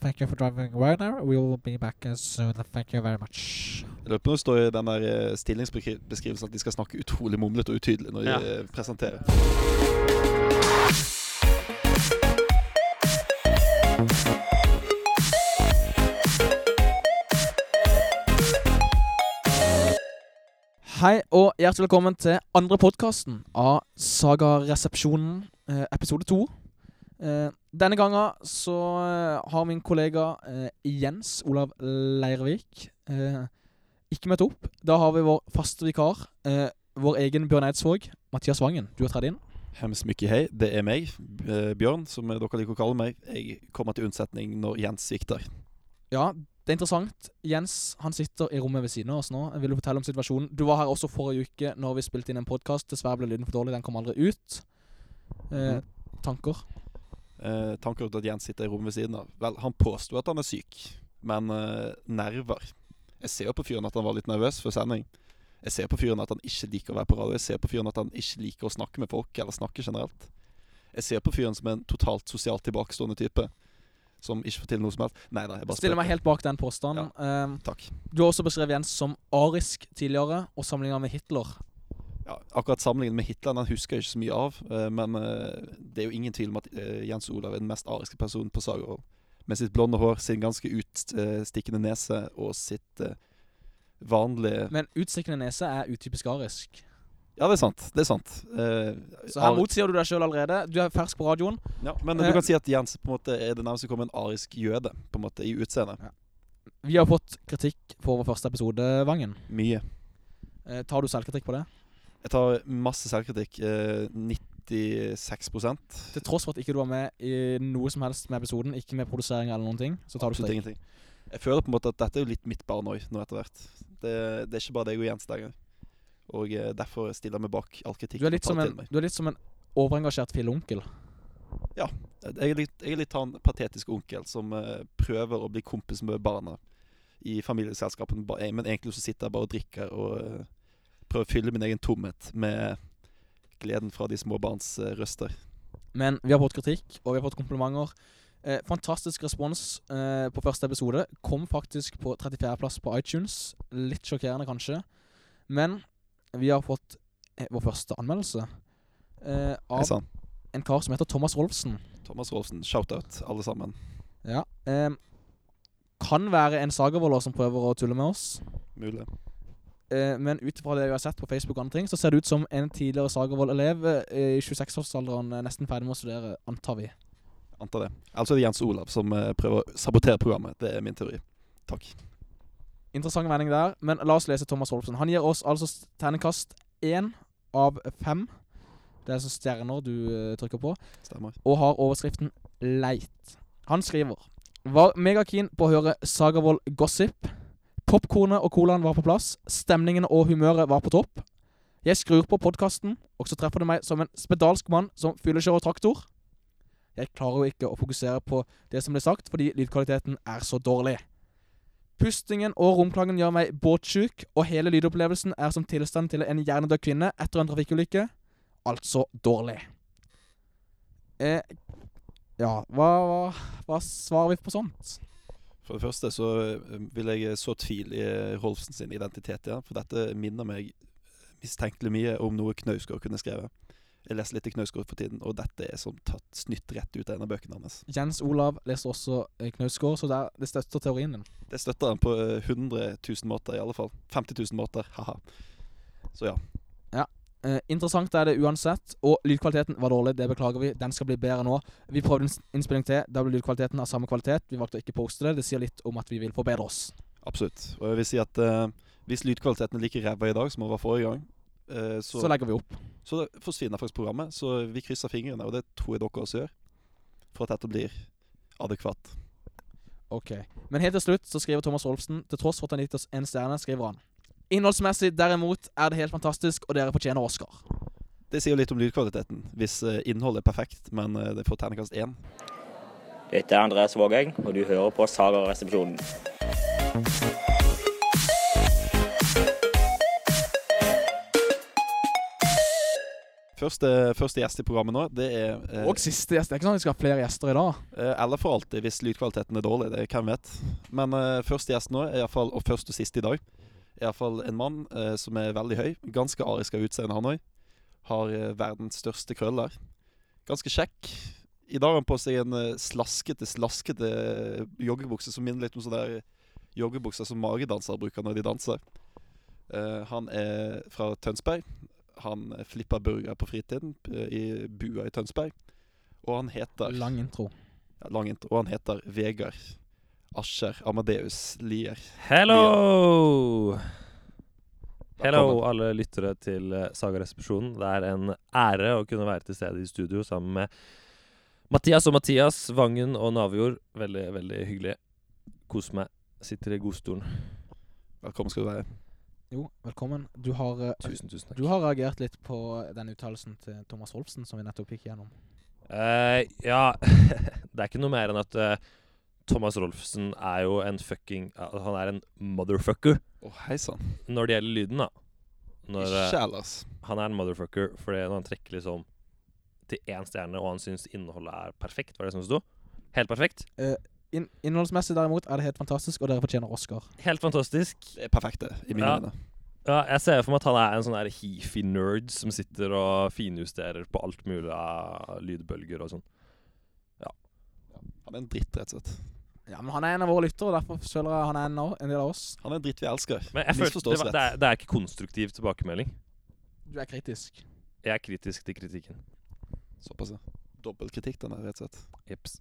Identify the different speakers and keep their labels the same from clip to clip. Speaker 1: Thank you for driving Ryanair. We will be back as soon. Thank you very much.
Speaker 2: Jeg lurer på om det står i den der eh, stillingsbeskrivelsen at de skal snakke utrolig mumlete og utydelig når de
Speaker 3: Ja.
Speaker 2: eh, presenterer.
Speaker 4: Hei og hjertelig velkommen til andre podkasten av Sagaresepsjonen, eh, episode to. Eh, denne gangen så eh, har min kollega eh, Jens Olav Leirvik eh, ikke møtt opp. Da har vi vår faste vikar, eh, vår egen Bjørn Eidsvåg, Mathias Vangen. Du har tredd inn.
Speaker 2: Hems mykje hei, det er meg, B- eh, Bjørn, som dere liker å kalle meg. Jeg kommer til unnsetning når Jens svikter.
Speaker 4: Ja, det er interessant. Jens han sitter i rommet ved siden av oss nå. Jeg ville fortelle om situasjonen. Du var her også forrige uke når vi spilte inn en podkast. Dessverre ble lyden for dårlig. Den kom aldri ut. Eh, tanker?
Speaker 2: Eh, tanker rundt at Jens sitter i rommet ved siden av. Vel, han påsto at han er syk, men eh, nerver. Jeg ser jo på fyren at han var litt nervøs før sending. Jeg ser på fyren at han ikke liker å være på radio. Jeg ser på fyren at han ikke liker å snakke med folk, eller snakke generelt. Jeg ser på fyren som en totalt sosialt tilbakestående type. Som ikke får til noe som helst. Nei da, jeg bare
Speaker 4: Stiller meg
Speaker 2: spøker.
Speaker 4: helt bak den påstanden. Eh,
Speaker 2: Takk.
Speaker 4: du har også beskrevet Jens som arisk tidligere, og sammenlignet med Hitler.
Speaker 2: Ja, akkurat sammenlignet med Hitler, den husker jeg ikke så mye av. eh, Men eh, det er jo ingen tvil om at eh, Jens Olav er den mest ariske personen på Sagerov. Med sitt blonde hår, sin ganske utstikkende nese og sitt eh, vanlige
Speaker 4: Men utstikkende nese er utypisk arisk.
Speaker 2: Ja, det er sant. Det er sant. Eh,
Speaker 4: Så her
Speaker 2: ar-
Speaker 4: motsier du deg sjøl allerede. Du er fersk på radioen.
Speaker 2: ja, men du kan si at Jens på en måte er det nærmeste kommer en arisk jøde på en måte i utseendet.
Speaker 4: Vi har fått kritikk på vår første episode, Vangen.
Speaker 2: Mye.
Speaker 4: Eh, tar du selvkritikk på det?
Speaker 2: Jeg tar masse selvkritikk. eh, 96
Speaker 4: Til tross for at ikke du var med i noe som helst med episoden, ikke med produsering eller noen ting, så tar du
Speaker 2: Absolutt
Speaker 4: kritikk.
Speaker 2: ingenting. Jeg føler på en måte at dette er jo litt mitt barn òg, nå etter hvert. Det, det er ikke bare deg og Jens der engang. Og eh, derfor stiller jeg meg bak all kritikk.
Speaker 4: Du er, litt
Speaker 2: og
Speaker 4: som
Speaker 2: tar
Speaker 4: en,
Speaker 2: til meg.
Speaker 4: du er litt som en overengasjert filleonkel.
Speaker 2: Jeg er litt, jeg er litt han patetiske onkel som eh, prøver å bli kompis med barna i familieselskapene, ba- eh, men egentlig så sitter jeg bare og drikker og eh, prøver å fylle min egen tomhet med gleden fra de små barns eh, røster.
Speaker 4: Men vi har fått kritikk, og vi har fått komplimenter. Eh, fantastisk respons eh, på første episode. Kom faktisk på 34.-plass på iTunes. Litt sjokkerende, kanskje. Men vi har fått eh, vår første anmeldelse eh,
Speaker 2: Hei
Speaker 4: av
Speaker 2: sann.
Speaker 4: en kar som heter Thomas Rolfsen.
Speaker 2: Thomas Rolfsen, shout-out, alle sammen.
Speaker 4: Ja. Eh, kan være en sagervoller som prøver å tulle med oss.
Speaker 2: Mulig.
Speaker 4: Eh, men ut ifra det jeg har sett på Facebook, og andre ting, så ser det ut som en tidligere Sagervoll-elev eh, i 26-årsalderen eh, nesten ferdig med å studere, antar vi.
Speaker 2: Antar det. Altså er det Jens Olav som eh, prøver å sabotere programmet. Det er min teori. Takk.
Speaker 4: Interessant vending der, men la oss lese Thomas Holpsen. Han gir oss altså s- terningkast én av fem. Det er sånne stjerner du eh, trykker på.
Speaker 2: Stemmer.
Speaker 4: og har overskriften Leit. Han skriver Var megakeen på å høre Sagervoll gossip. Popkornet og colaen var på plass. Stemningen og humøret var på topp. Jeg skrur på podkasten, og så treffer det meg som en spedalsk mann som fyllekjører traktor. Jeg klarer jo ikke å fokusere på det som ble sagt, fordi lydkvaliteten er så dårlig. Pustingen og romklangen gjør meg båtsjuk, og hele lydopplevelsen er som tilstanden til en hjernedød kvinne etter en trafikkulykke. Altså dårlig. Eh, ja, hva, hva, hva svarer vi på sånt?
Speaker 2: For det første så eh, vil jeg så tvil i eh, Rolfsen sin identitet igjen, for dette minner meg eh, mistenkelig mye om noe Knausgård kunne skrevet. Jeg leser litt i Knausgård for tiden, og dette er som tatt snytt rett ut av en av bøkene hans.
Speaker 4: Jens Olav leser også eh, Knausgård, så der, det støtter teorien din.
Speaker 2: Det støtter han på eh, 100 000 måter, i alle fall. 50 000 måter, haha. Så ja.
Speaker 4: Eh, interessant er det uansett, og lydkvaliteten var dårlig, det beklager vi. Den skal bli bedre nå. Vi prøvde en s- innspilling til, da ble lydkvaliteten av samme kvalitet. Vi valgte å ikke poste det. Det sier litt om at vi vil forbedre oss.
Speaker 2: Absolutt. Og jeg vil si at eh, hvis lydkvaliteten er like ræva i dag som den var forrige gang, eh,
Speaker 4: Så,
Speaker 2: så,
Speaker 4: legger vi opp.
Speaker 2: så det forsvinner faktisk programmet. Så vi krysser fingrene, og det tror jeg dere også gjør, for at dette blir adekvat.
Speaker 4: Ok. Men helt til slutt så skriver Thomas Rolfsen, til tross for at han gitt oss en stjerne, skriver han Innholdsmessig derimot er det helt fantastisk, og dere fortjener Oscar.
Speaker 2: Det sier jo litt om lydkvaliteten, hvis eh, innholdet er perfekt, men eh, det får terningkast én.
Speaker 5: Dette er Andreas Vågeng, og du hører på Saga-resepsjonen.
Speaker 2: Første, første gjest i programmet nå, det er eh,
Speaker 4: Og siste gjest. Det er ikke sånn at vi skal ha flere gjester i dag.
Speaker 2: eh, Eller for alltid, hvis lydkvaliteten er dårlig. Det hvem vet. Men eh, første gjest nå, er i hvert fall, og først og sist i dag, er iallfall en mann eh, som er veldig høy. Ganske arisk av utseende, han òg. Har eh, verdens største krøller. Ganske kjekk. I dag har han på seg en eh, slaskete, slaskete eh, joggebukse som minner litt om sånne der eh, joggebukser som magedansere bruker når de danser. Eh, han er fra Tønsberg. Han eh, flipper burger på fritiden eh, i bua i Tønsberg. Og han heter
Speaker 4: Lang intro.
Speaker 2: ja, lang intro. Og han heter Vegard Ascher Amadeus Lier.
Speaker 3: Hello! Hello,
Speaker 2: Velkommen.
Speaker 3: alle lyttere til eh, Saga-resepsjonen. Det er en ære å kunne være til stede i studio sammen med Mathias og Mathias, Vangen og Navjord. Veldig, veldig hyggelig. Kos meg. Sitter i godstolen.
Speaker 2: Velkommen skal du være.
Speaker 4: Jo, velkommen. Du har, eh,
Speaker 3: Tusen, tusen takk.
Speaker 4: du har reagert litt på eh, den uttalelsen til Thomas Rolfsen som vi nettopp gikk gjennom.
Speaker 3: Eh, ja, det er ikke noe mer enn at eh, Thomas Rolfsen er jo en fucking ja, Han er en motherfucker
Speaker 2: Å, hei sann.
Speaker 3: når det gjelder lyden, da. Når, eh,
Speaker 2: Ikke ellers.
Speaker 3: han er en motherfucker fordi når han trekker liksom til én stjerne, og han syns innholdet er perfekt, var det som det sto? Helt perfekt.
Speaker 4: In innholdsmessig derimot er det helt fantastisk, og dere fortjener Oscar.
Speaker 3: Helt fantastisk.
Speaker 2: Det er perfekt, det, i mine
Speaker 3: Ja.
Speaker 2: øyne.
Speaker 3: Ja, jeg ser for meg at han er en sånn der hifi-nerd som sitter og finjusterer på alt mulig av lydbølger og sånn.
Speaker 2: Han er en dritt, rett og slett.
Speaker 4: Ja, men han er en av våre lyttere, og derfor føler jeg han er en, av- en del av oss.
Speaker 2: Han er en dritt vi elsker.
Speaker 3: Men jeg føler, det,
Speaker 2: Misforstås
Speaker 3: var- det, er, det er ikke konstruktiv tilbakemelding.
Speaker 4: Du er kritisk.
Speaker 3: Jeg er kritisk til kritikken.
Speaker 2: Såpass, ja. Dobbeltkritikk, den er rett og slett.
Speaker 3: Jeps.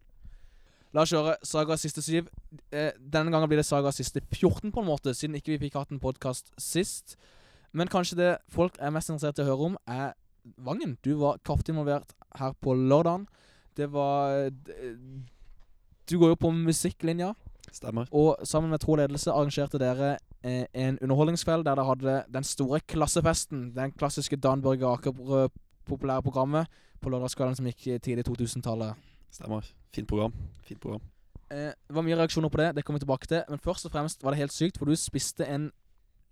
Speaker 4: La oss kjøre Sagas siste syv. Eh, denne gangen blir det Sagas siste 14, på en måte, siden ikke vi fikk hatt en podkast sist. Men kanskje det folk er mest interessert i å høre om, er Vangen. Du var kraftig involvert her på lørdagen. Det var eh, Du går jo på musikklinja,
Speaker 2: Stemmer.
Speaker 4: og sammen med Tro Ledelse arrangerte dere eh, en underholdningskveld der dere hadde den store klassefesten. Den klassiske Dan Børge Aker-populære programmet på lørdagskvelden som gikk tidlig i 2000-tallet.
Speaker 2: Stemmer. Fint program. Fint program.
Speaker 4: Eh, det var mye reaksjoner på det, det kommer vi tilbake til. Men først og fremst var det helt sykt, for du spiste en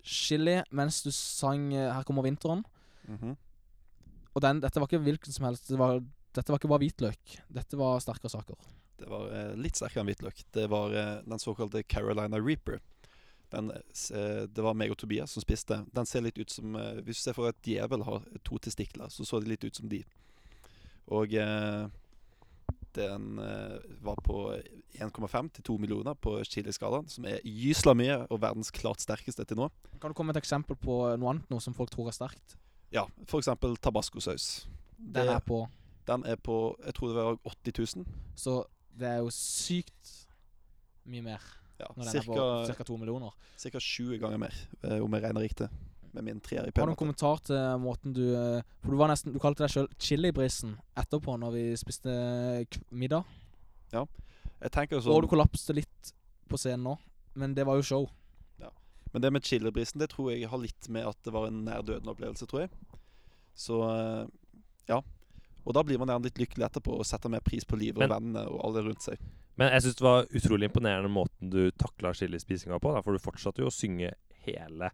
Speaker 4: chili mens du sang eh, 'Her kommer vinteren'.
Speaker 2: Mhm.
Speaker 4: Og den, dette var ikke hvilken som helst. Det var, dette var ikke bare hvitløk. Dette var sterkere saker.
Speaker 2: Det var eh, litt sterkere enn hvitløk. Det var eh, den såkalte Carolina Reaper. Den, eh, s- eh, det var meg og Tobias som spiste. Den ser litt ut som eh, Hvis du ser for deg at djevel har to testikler, så så det litt ut som de. Og eh, den eh, var på 1,5 til 2 millioner på chiliskalaen, som er gysla mye og verdens klart sterkeste til nå.
Speaker 4: Kan du komme med et eksempel på noe annet nå som folk tror er sterkt?
Speaker 2: Ja, f.eks. tabascosaus.
Speaker 4: Den
Speaker 2: Det-
Speaker 4: er på.
Speaker 2: Den er på jeg tror det var 80 000.
Speaker 4: Så det er jo sykt mye mer
Speaker 2: Ja,
Speaker 4: når den er på
Speaker 2: cirka,
Speaker 4: ca. to millioner.
Speaker 2: cirka 20 ganger mer, eh, om jeg regner riktig. Med min treer i
Speaker 4: Har du en
Speaker 2: p-matte.
Speaker 4: kommentar til måten du eh, For du var nesten Du kalte deg sjøl chilibrisen etterpå, når vi spiste eh, k- middag.
Speaker 2: Jeg tenker
Speaker 4: Og du
Speaker 2: sånn,
Speaker 4: kollapste litt på scenen nå, men det var jo show.
Speaker 2: Men det med chilibrisen det tror jeg har litt med at det var en nær døden-opplevelse, tror jeg. Så eh, ja. Og da blir man gjerne litt lykkelig etterpå og setter mer pris på livet og vennene og alle rundt seg.
Speaker 3: Men jeg syns det var utrolig imponerende måten du takla chilispisinga på. Da, for du fortsatte jo å synge hele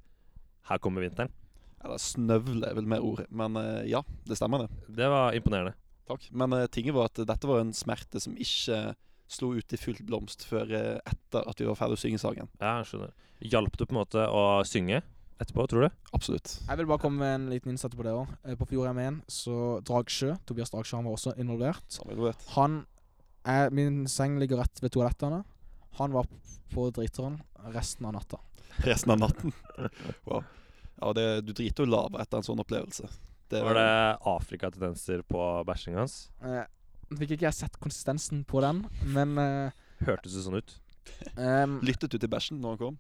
Speaker 3: 'Her kommer vinteren'.
Speaker 2: Eller snøvle er vel mer ordet. Men eh, ja, det stemmer, det.
Speaker 3: Det var imponerende.
Speaker 2: Takk. Men eh, tinget var at dette var en smerte som ikke slo ut i fullt blomst før eh, etter at vi var ferdig å synge sangen.
Speaker 3: Ja, jeg skjønner. Hjalp det på en måte å synge etterpå, tror du?
Speaker 2: Absolutt.
Speaker 4: Jeg vil bare komme med en liten innsats på det òg. På Fjordheim 1, så Dragsjø, Tobias Dragsjø, han var også involvert.
Speaker 2: Samme involvert.
Speaker 4: Han er, Min seng ligger rett ved toalettene. Han var på driteren resten av natta.
Speaker 2: Resten av natten. Wow. Ja, det, du driter jo lava etter en sånn opplevelse. Det,
Speaker 3: Var det Afrikatendenser på bæsjinga hans?
Speaker 4: Eh, fikk ikke jeg sett konsistensen på den, men eh,
Speaker 3: Hørtes det sånn ut?
Speaker 4: em,
Speaker 2: Lyttet du til bæsjen når han kom?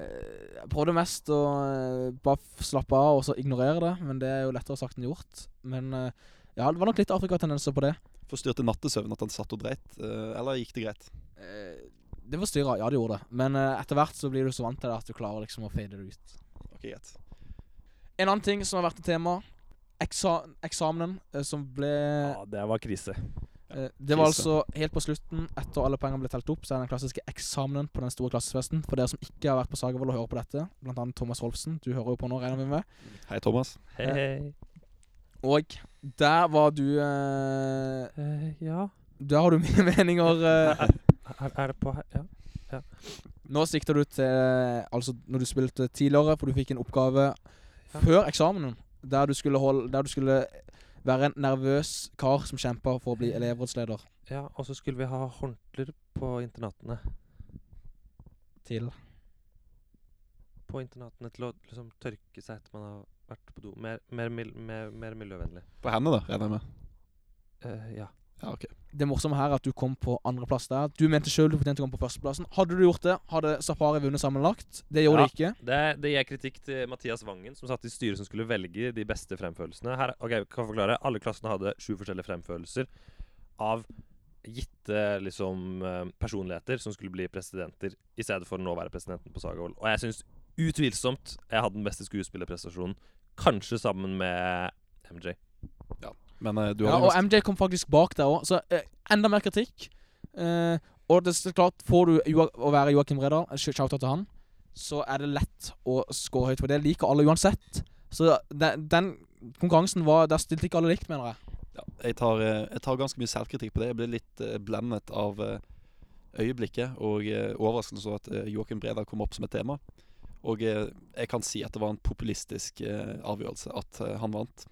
Speaker 4: eh, Jeg prøvde mest å eh, bare f- slappe av og så ignorere det, men det er jo lettere sagt enn gjort. Men eh, ja, det var nok litt Afrikatendenser på det.
Speaker 2: Forstyrrte nattesøvnen at han satt og dreit? eh, Eller gikk det greit?
Speaker 4: Eh, Det forstyrra, ja det gjorde det. Men eh, etter hvert så blir du så vant til det at du klarer liksom å fade det ut.
Speaker 2: Ok, greit.
Speaker 4: En annen ting som har vært et tema, eksa eksamenen eh, som ble
Speaker 3: Ja, det var krise.
Speaker 4: eh, Det var
Speaker 2: krise.
Speaker 4: altså helt på slutten, etter alle poengene ble telt opp, så er den klassiske eksamenen på den store klassefesten. For dere som ikke har vært på Sagervoll og hører på dette, blant annet Thomas Rolfsen, du hører jo på nå, regner vi med.
Speaker 2: Hei, Thomas.
Speaker 3: Hei, hei.
Speaker 4: Og der var du eh,
Speaker 3: ja
Speaker 4: Der har du mine meninger. eh.
Speaker 3: er, det på her? Ja.
Speaker 4: Nå sikter du til eh, Altså når du spilte tidligere, for du fikk en oppgave før eksamen der du skulle, holde, der du skulle være en nervøs kar som kjempa for å bli elevrådsleder.
Speaker 3: ja. Og så skulle vi ha håndklær på internatene.
Speaker 4: Til
Speaker 3: På internatene til å liksom tørke seg etter man har vært på do. Mer, mer, mil- mer, mer miljøvennlig.
Speaker 2: På hendene, da, regner jeg med.
Speaker 3: Eh, ja.
Speaker 2: Ja, ok.
Speaker 4: Det morsomme her er at du kom på andreplass der. Du mente sjøl du fortjente å komme på førsteplassen. Hadde du gjort det, hadde Safari vunnet sammenlagt. Det
Speaker 3: Ja.
Speaker 4: gjorde de ikke.
Speaker 3: Det, det gir kritikk til Mathias Vangen, som satt i styret som skulle velge de beste fremførelsene. Her, ok, jeg kan forklare. Alle klassene hadde sju forskjellige fremførelser av gitte liksom, eh, personligheter som skulle bli presidenter, i stedet for nå å være presidenten på Sagavold. Og jeg syns utvilsomt jeg hadde den beste skuespillerprestasjonen, kanskje sammen med MJ.
Speaker 2: Men eh, du
Speaker 4: Ja,
Speaker 2: har
Speaker 4: og MJ kom faktisk bak der òg, så eh, enda mer kritikk. Eh, og det er klart, får du Joa å være Joakim Redal, eh, sh- shout-out til han, så er det lett å score høyt, for det liker alle uansett. Så den, den konkurransen var Der stilte ikke alle likt, mener jeg.
Speaker 2: ja, jeg, tar, eh, jeg tar ganske mye selvkritikk på det. Jeg ble litt eh, blendet av eh, øyeblikket og eh, overraskende så at eh, Joakim Breda kom opp som et tema. Og eh, jeg kan si at det var en populistisk eh, avgjørelse at eh, han vant.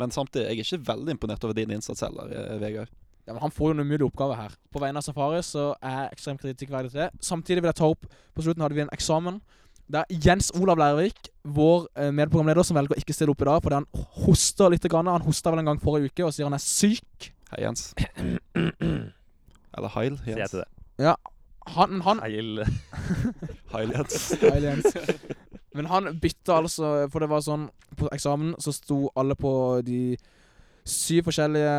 Speaker 2: Men samtidig, jeg er ikke veldig imponert over din innsats heller, eh, Vegard.
Speaker 4: Ja, men han får jo en umulig oppgave her. På vegne av Safari så er jeg ekstremt kritikkverdig til det. Samtidig vil jeg ta opp På slutten hadde vi en eksamen der Jens Olav Lærvik, vår eh, medprogramleder, som velger å ikke stille opp i dag fordi han hoster litt. Grann. Han hosta vel en gang forrige uke og sier han er syk.
Speaker 2: Hei, Jens. Eller Heil
Speaker 3: Sier jeg
Speaker 2: Jens.
Speaker 3: til det.
Speaker 4: Han, men han
Speaker 3: Heil.
Speaker 2: Heil Jens.
Speaker 4: Aliens. Men han bytta altså, for det var sånn På eksamen så sto alle på de syv forskjellige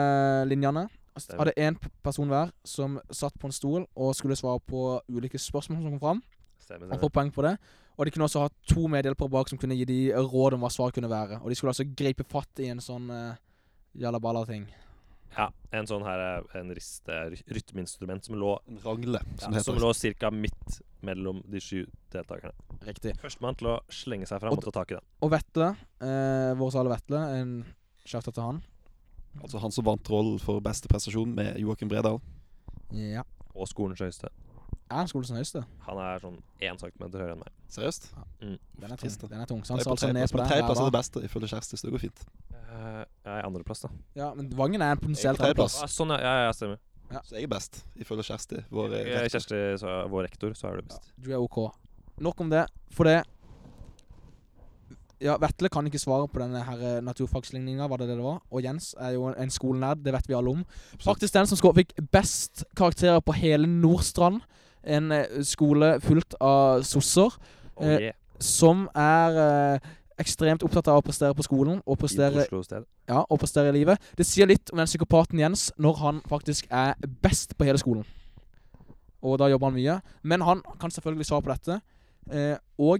Speaker 4: linjene. Altså,
Speaker 3: Stemmer.
Speaker 4: hadde én p- person hver som satt på en stol og skulle svare på ulike spørsmål som kom fram.
Speaker 3: Stemmer,
Speaker 4: Og få
Speaker 3: stemmer.
Speaker 4: poeng på det. Og de kunne også ha to medhjelpere bak som kunne gi de råd om hva svaret kunne være. Og de skulle altså gripe fatt i en sånn uh, jalla balla-ting.
Speaker 3: Ja, en sånn her eh, en riste, ry- rytmeinstrument som lå,
Speaker 2: En rangle, som
Speaker 3: ja,
Speaker 2: det
Speaker 3: som
Speaker 2: heter.
Speaker 3: lå ca. midt mellom de sju deltakerne.
Speaker 4: Riktig.
Speaker 3: Førstemann til å slenge seg fram og ta tak i den.
Speaker 4: Og Vetle, eh, vår sale Vetle, en kjefter til han.
Speaker 2: Altså han som vant rollen for beste prestasjon med Joakim Bredal.
Speaker 4: Ja.
Speaker 3: Og skolens høyeste.
Speaker 4: Er han skolens høyeste?
Speaker 3: Han er sånn én centimeter høyere enn meg.
Speaker 2: Seriøst?
Speaker 4: Den er tung.
Speaker 2: Trist, da.
Speaker 4: Den er tung. Så han
Speaker 2: Jeg er
Speaker 4: sa
Speaker 2: på
Speaker 4: altså ned
Speaker 2: tredjeplass,
Speaker 4: på
Speaker 2: men
Speaker 4: den.
Speaker 2: tredjeplass er
Speaker 4: der, da.
Speaker 2: det beste, ifølge Kjersti, så det går fint.
Speaker 3: Eh, jeg er i andreplass, da.
Speaker 4: Ja, men Vangen er en potensiell
Speaker 2: Jeg er på tredjeplass.
Speaker 3: Ah,
Speaker 4: tredjeplass.
Speaker 3: sånn, ja. Ja, ja, stemmer.
Speaker 2: Så jeg er best, ifølge Kjersti. Vår, eh,
Speaker 3: Eh,
Speaker 2: rektor.
Speaker 3: Kjersti, så, vår rektor, så er du best.
Speaker 4: Du er OK. Nok om det. For det Ja, Vetle kan ikke svare på denne her eh, naturfagsligninga, var det det det var? Og Jens er jo en- en skolenerd, det vet vi alle om. Faktisk den som skå- fikk best karakterer på hele Nordstrand, en eh, skole fullt av sosser,
Speaker 3: Og
Speaker 4: Eh,
Speaker 3: jeg,
Speaker 4: som er eh, ekstremt opptatt av å prestere på skolen og
Speaker 3: i
Speaker 4: prestere
Speaker 3: Oslo sted.
Speaker 4: Ja, og prestere i livet. Det sier litt om den psykopaten Jens når han faktisk er best på hele skolen. Og da jobber han mye. Men han kan selvfølgelig svare på dette. Eh, og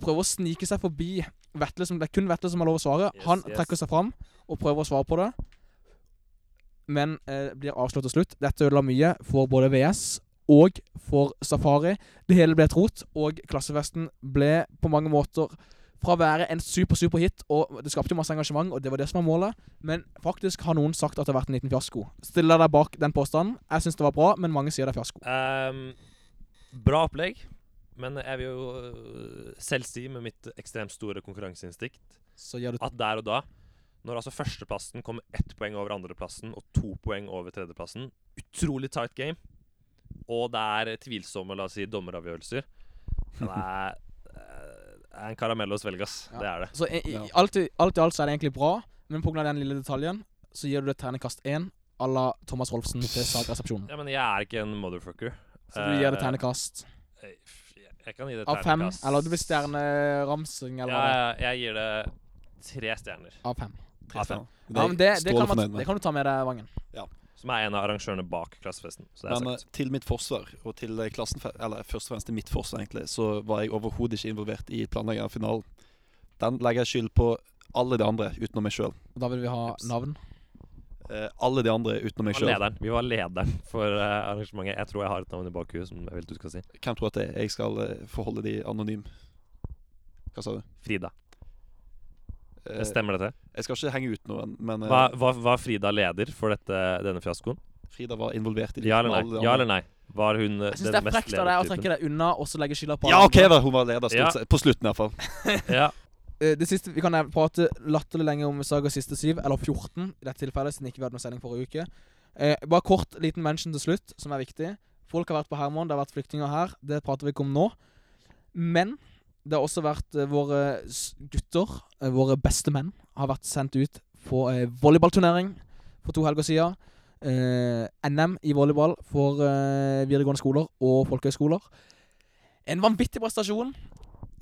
Speaker 4: prøver å snike seg forbi Vetle, som det er kun Vetle som har lov å svare.
Speaker 3: Yes,
Speaker 4: han
Speaker 3: yes.
Speaker 4: trekker seg fram og prøver å svare på det, men eh, blir avslørt til slutt. Dette ødela mye for både VS og for Safari. Det hele ble et rot, og klassefesten ble på mange måter fra å være en super, super hit, og det skapte jo masse engasjement, og det var det som var målet, men faktisk har noen sagt at det har vært en liten fiasko. Stiller deg bak den påstanden. Jeg syns det var bra, men mange sier det er fiasko.
Speaker 3: Ehm, bra opplegg, men jeg vil jo øh, selv si med mitt ekstremt store konkurranseinstinkt
Speaker 4: Så gjør du
Speaker 3: at der og da, når altså førsteplassen kom ett poeng over andreplassen og to poeng over tredjeplassen, utrolig tight game, og det er tvilsomme, la oss si, dommeravgjørelser, det er, eh, er en karamell å svelge, ass.
Speaker 4: Ja.
Speaker 3: Det er det.
Speaker 4: Så i, i,
Speaker 2: Ja.
Speaker 4: alt, i, alt i alt så er det egentlig bra, men pga. den lille detaljen så gir du det ternekast én à la Thomas Rolfsen til Sagresepsjonen.
Speaker 3: Ja, men jeg er ikke en motherfucker.
Speaker 4: Så du gir det
Speaker 3: Eh,
Speaker 4: ternekast
Speaker 3: Jeg jeg kan gi det
Speaker 4: av fem,
Speaker 3: Eh, ternekast.
Speaker 4: eller det blir stjerneramsing eller
Speaker 3: Ja,
Speaker 4: hva det
Speaker 3: ja, jeg gir det tre stjerner.
Speaker 4: er. Av fem.
Speaker 2: Tre stjerner. Det
Speaker 4: Ja,
Speaker 2: er
Speaker 4: men
Speaker 2: jeg
Speaker 4: det, det,
Speaker 2: strålende
Speaker 4: kan man,
Speaker 2: fornøyd
Speaker 4: det
Speaker 2: med.
Speaker 4: kan du ta med deg, Vangen.
Speaker 3: Som er en av arrangørene bak klassefesten. Så det er
Speaker 2: Men eh,
Speaker 3: sagt.
Speaker 2: til mitt forsvar, og til eh, klassen, fe- eller først og fremst til mitt forsvar, egentlig, så var jeg overhodet ikke involvert i planleggingen av finalen. Den legger jeg skyld på alle de andre utenom meg sjøl.
Speaker 4: Og da vil vi ha
Speaker 3: Jeps.
Speaker 4: navn.
Speaker 2: Eh, alle de andre utenom meg
Speaker 3: Vi var
Speaker 2: sjøl.
Speaker 3: lederen, vi var lederen for eh, arrangementet. Jeg tror jeg har et navn i bakhuet som jeg vil du skal si.
Speaker 2: Hvem tror at det er? Jeg skal eh, forholde de anonym. Hva sa du?
Speaker 3: Frida.
Speaker 2: Eh,
Speaker 3: Stemmer dette?
Speaker 2: Jeg skal ikke henge ut noen, men eh,
Speaker 3: Hva, hva, var Frida leder for dette, denne fiaskoen?
Speaker 2: Frida var involvert i det.
Speaker 3: Ja
Speaker 2: som
Speaker 3: eller
Speaker 2: alle de andre.
Speaker 3: nei? Ja eller nei? Var hun eh,
Speaker 4: Jeg syns det
Speaker 3: den
Speaker 4: er
Speaker 3: mest
Speaker 4: frekt av deg å trekke
Speaker 3: ledertypen?
Speaker 4: deg unna og så legge skylda på
Speaker 2: Ja,
Speaker 4: alle
Speaker 2: OK,
Speaker 4: andre.
Speaker 2: da! Hun var leder,
Speaker 3: Ja.
Speaker 2: stort sett. På slutten, iallfall.
Speaker 3: Ja.
Speaker 4: Eh, Det siste, Vi kan nevne- prate latterlig lenge om Sagas siste syv, eller 14 i dette tilfellet, siden ikke vi hadde noen sending forrige uke. Eh, bare kort liten mention til slutt, som er viktig. Folk har vært på Herman, det har vært flyktninger her. Det prater vi ikke om nå. Men det har også vært eh, våre s- gutter, eh, våre beste menn, har vært sendt ut på eh, volleyballturnering for to helger siden. Eh, NM i volleyball for eh, videregående skoler og folkehøyskoler. En vanvittig prestasjon.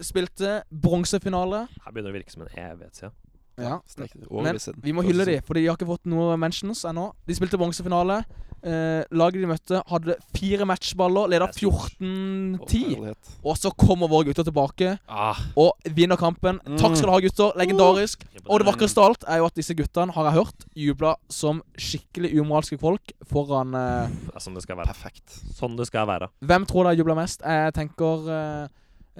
Speaker 4: Spilte bronsefinale.
Speaker 3: Her begynner det å virke som en evighet siden.
Speaker 4: Ja.
Speaker 2: Stek-
Speaker 4: Men
Speaker 2: årevis siden.
Speaker 4: vi må hylle dem, for de har ikke fått noe mentions ennå. De spilte bronsefinale. Eh, laget de møtte, hadde fire matchballer, leda
Speaker 3: Det er stort.
Speaker 4: 14-10.
Speaker 2: Herlighet.
Speaker 4: Og så kommer våre gutter tilbake
Speaker 3: Ah,
Speaker 4: og vinner kampen. Takk skal du ha, gutter. Legendarisk. Og det vakreste av alt er jo at disse guttene, har jeg hørt, jubla som skikkelig umoralske folk foran eh,
Speaker 3: det er Sånn det skal være.
Speaker 2: Perfekt.
Speaker 3: Sånn det skal
Speaker 2: Mm.
Speaker 3: være.
Speaker 4: Hvem tror dere jubla mest? Jeg tenker eh, eh,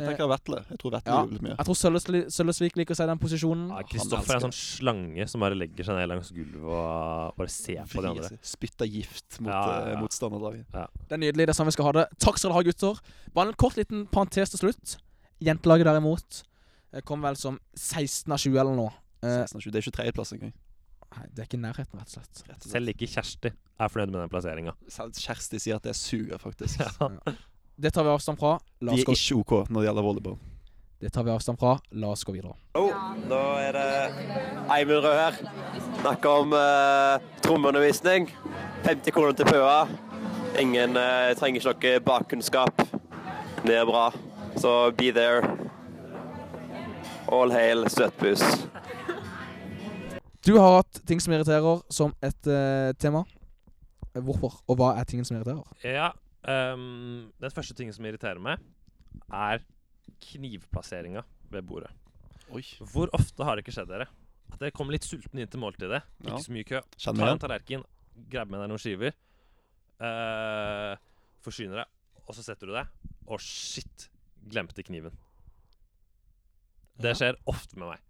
Speaker 2: Tenker jeg Vetle. Jeg tror Vetle
Speaker 4: Ja.
Speaker 2: jublet mye.
Speaker 4: Jeg tror Sølvesli- Sølvesvik liker å se den posisjonen.
Speaker 3: Ja,
Speaker 2: Han
Speaker 3: Kristoffer er en
Speaker 2: elsker
Speaker 3: sånn slange som bare legger seg ned langs gulvet og bare ser på de
Speaker 2: Vri
Speaker 3: andre.
Speaker 2: seg, Spytta gift mot
Speaker 3: Ja, ja, ja.
Speaker 2: eh, motstanderlaget.
Speaker 4: Det er nydelig. Det er sånn vi skal ha det. Takk skal dere ha, gutter. Bare en kort liten parentes til slutt. Jentelaget derimot eh, kom vel som 16 av 20 eller noe. Eh,
Speaker 2: 16 av 20. Det er ikke tredjeplass engang.
Speaker 4: nei, det er ikke i nærheten, rett og slett.
Speaker 2: rett og slett.
Speaker 3: Selv ikke Kjersti er fornøyd med den plasseringa.
Speaker 2: Selv Kjersti sier at det suger, faktisk.
Speaker 4: Det tar vi avstand fra. La
Speaker 2: De
Speaker 4: oss
Speaker 2: er
Speaker 4: gå.
Speaker 2: ikke OK når det gjelder volleyball.
Speaker 4: Det tar vi avstand fra. La oss gå videre.
Speaker 6: Jo, da er det Eivind Rød her. Snakker om eh, trommeundervisning. 50 kroner til pøa. Ingen eh, trenger ikke noe bakkunnskap. Det er bra. Så be there. All hail støtbuss.
Speaker 4: Du har hatt ting som irriterer som et eh, tema. Eh, Hvorfor, og hva er tingen som irriterer?
Speaker 3: Ja, ehm, den første tingen som irriterer meg, er knivplasseringa ved bordet.
Speaker 2: Oi.
Speaker 3: Hvor ofte har det ikke skjedd dere? At dere kommer litt sultne inn til måltidet.
Speaker 2: Ja.
Speaker 3: Ikke så mye kø.
Speaker 2: Kjenner
Speaker 3: Tar en
Speaker 2: igjen.
Speaker 3: tallerken, grabber med deg noen skiver, eh, forsyner deg, og så setter du deg. Å, shit! Glemte kniven. Det skjer ofte med meg.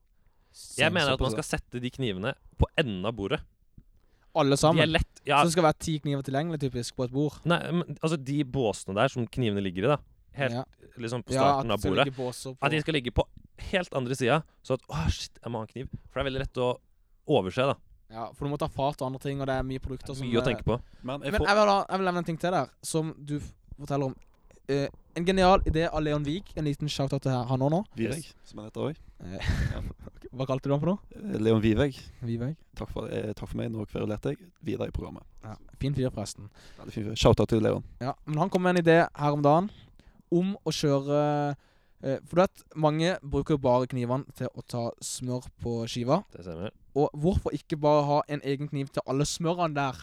Speaker 3: Jeg mener at man skal sette de knivene på enden av bordet.
Speaker 4: Alle
Speaker 3: De er
Speaker 4: sammen.
Speaker 3: lett
Speaker 4: Så
Speaker 3: ja,
Speaker 4: det skal være ti kniver tilgjengelig, typisk, på et bord.
Speaker 3: Nei, men, altså de båsene der som knivene ligger i, da. Helt
Speaker 4: ja.
Speaker 3: liksom på
Speaker 4: Ja, at
Speaker 3: starten
Speaker 4: det
Speaker 3: av
Speaker 4: skal
Speaker 3: bordet.
Speaker 4: ligge båser på-
Speaker 3: At de skal ligge på helt andre sida, så at Å, shit, jeg må ha en kniv. For det er veldig lett å overse, da.
Speaker 4: Ja, for du må ta fart og andre ting, og det er mye produkter
Speaker 3: Det er
Speaker 4: som
Speaker 3: mye å
Speaker 4: eh,
Speaker 3: tenke på.
Speaker 2: Men jeg
Speaker 4: Men
Speaker 2: får
Speaker 4: jeg vil, ha, jeg vil nevne en ting til der, som du f- forteller om. Eh, en genial idé av Leon Wiig. En liten shout-out til han òg nå. Eh,
Speaker 2: Viveg, som han heter òg.
Speaker 4: Hva kalte du han for noe?
Speaker 2: Leon Viveg.
Speaker 4: Wiig.
Speaker 2: Takk for, eh, takk for meg. Nå kverulerte jeg. Videre i programmet.
Speaker 4: Ja, fin fyr, forresten.
Speaker 2: Veldig fin fyr. Shout-out til Leon.
Speaker 4: Ja, men han kom med en idé her om dagen om å kjøre eh, For du vet, mange bruker jo bare knivene til å ta smør på skiva.
Speaker 3: Det stemmer.
Speaker 4: Og hvorfor ikke bare ha en egen kniv til alle smørene der?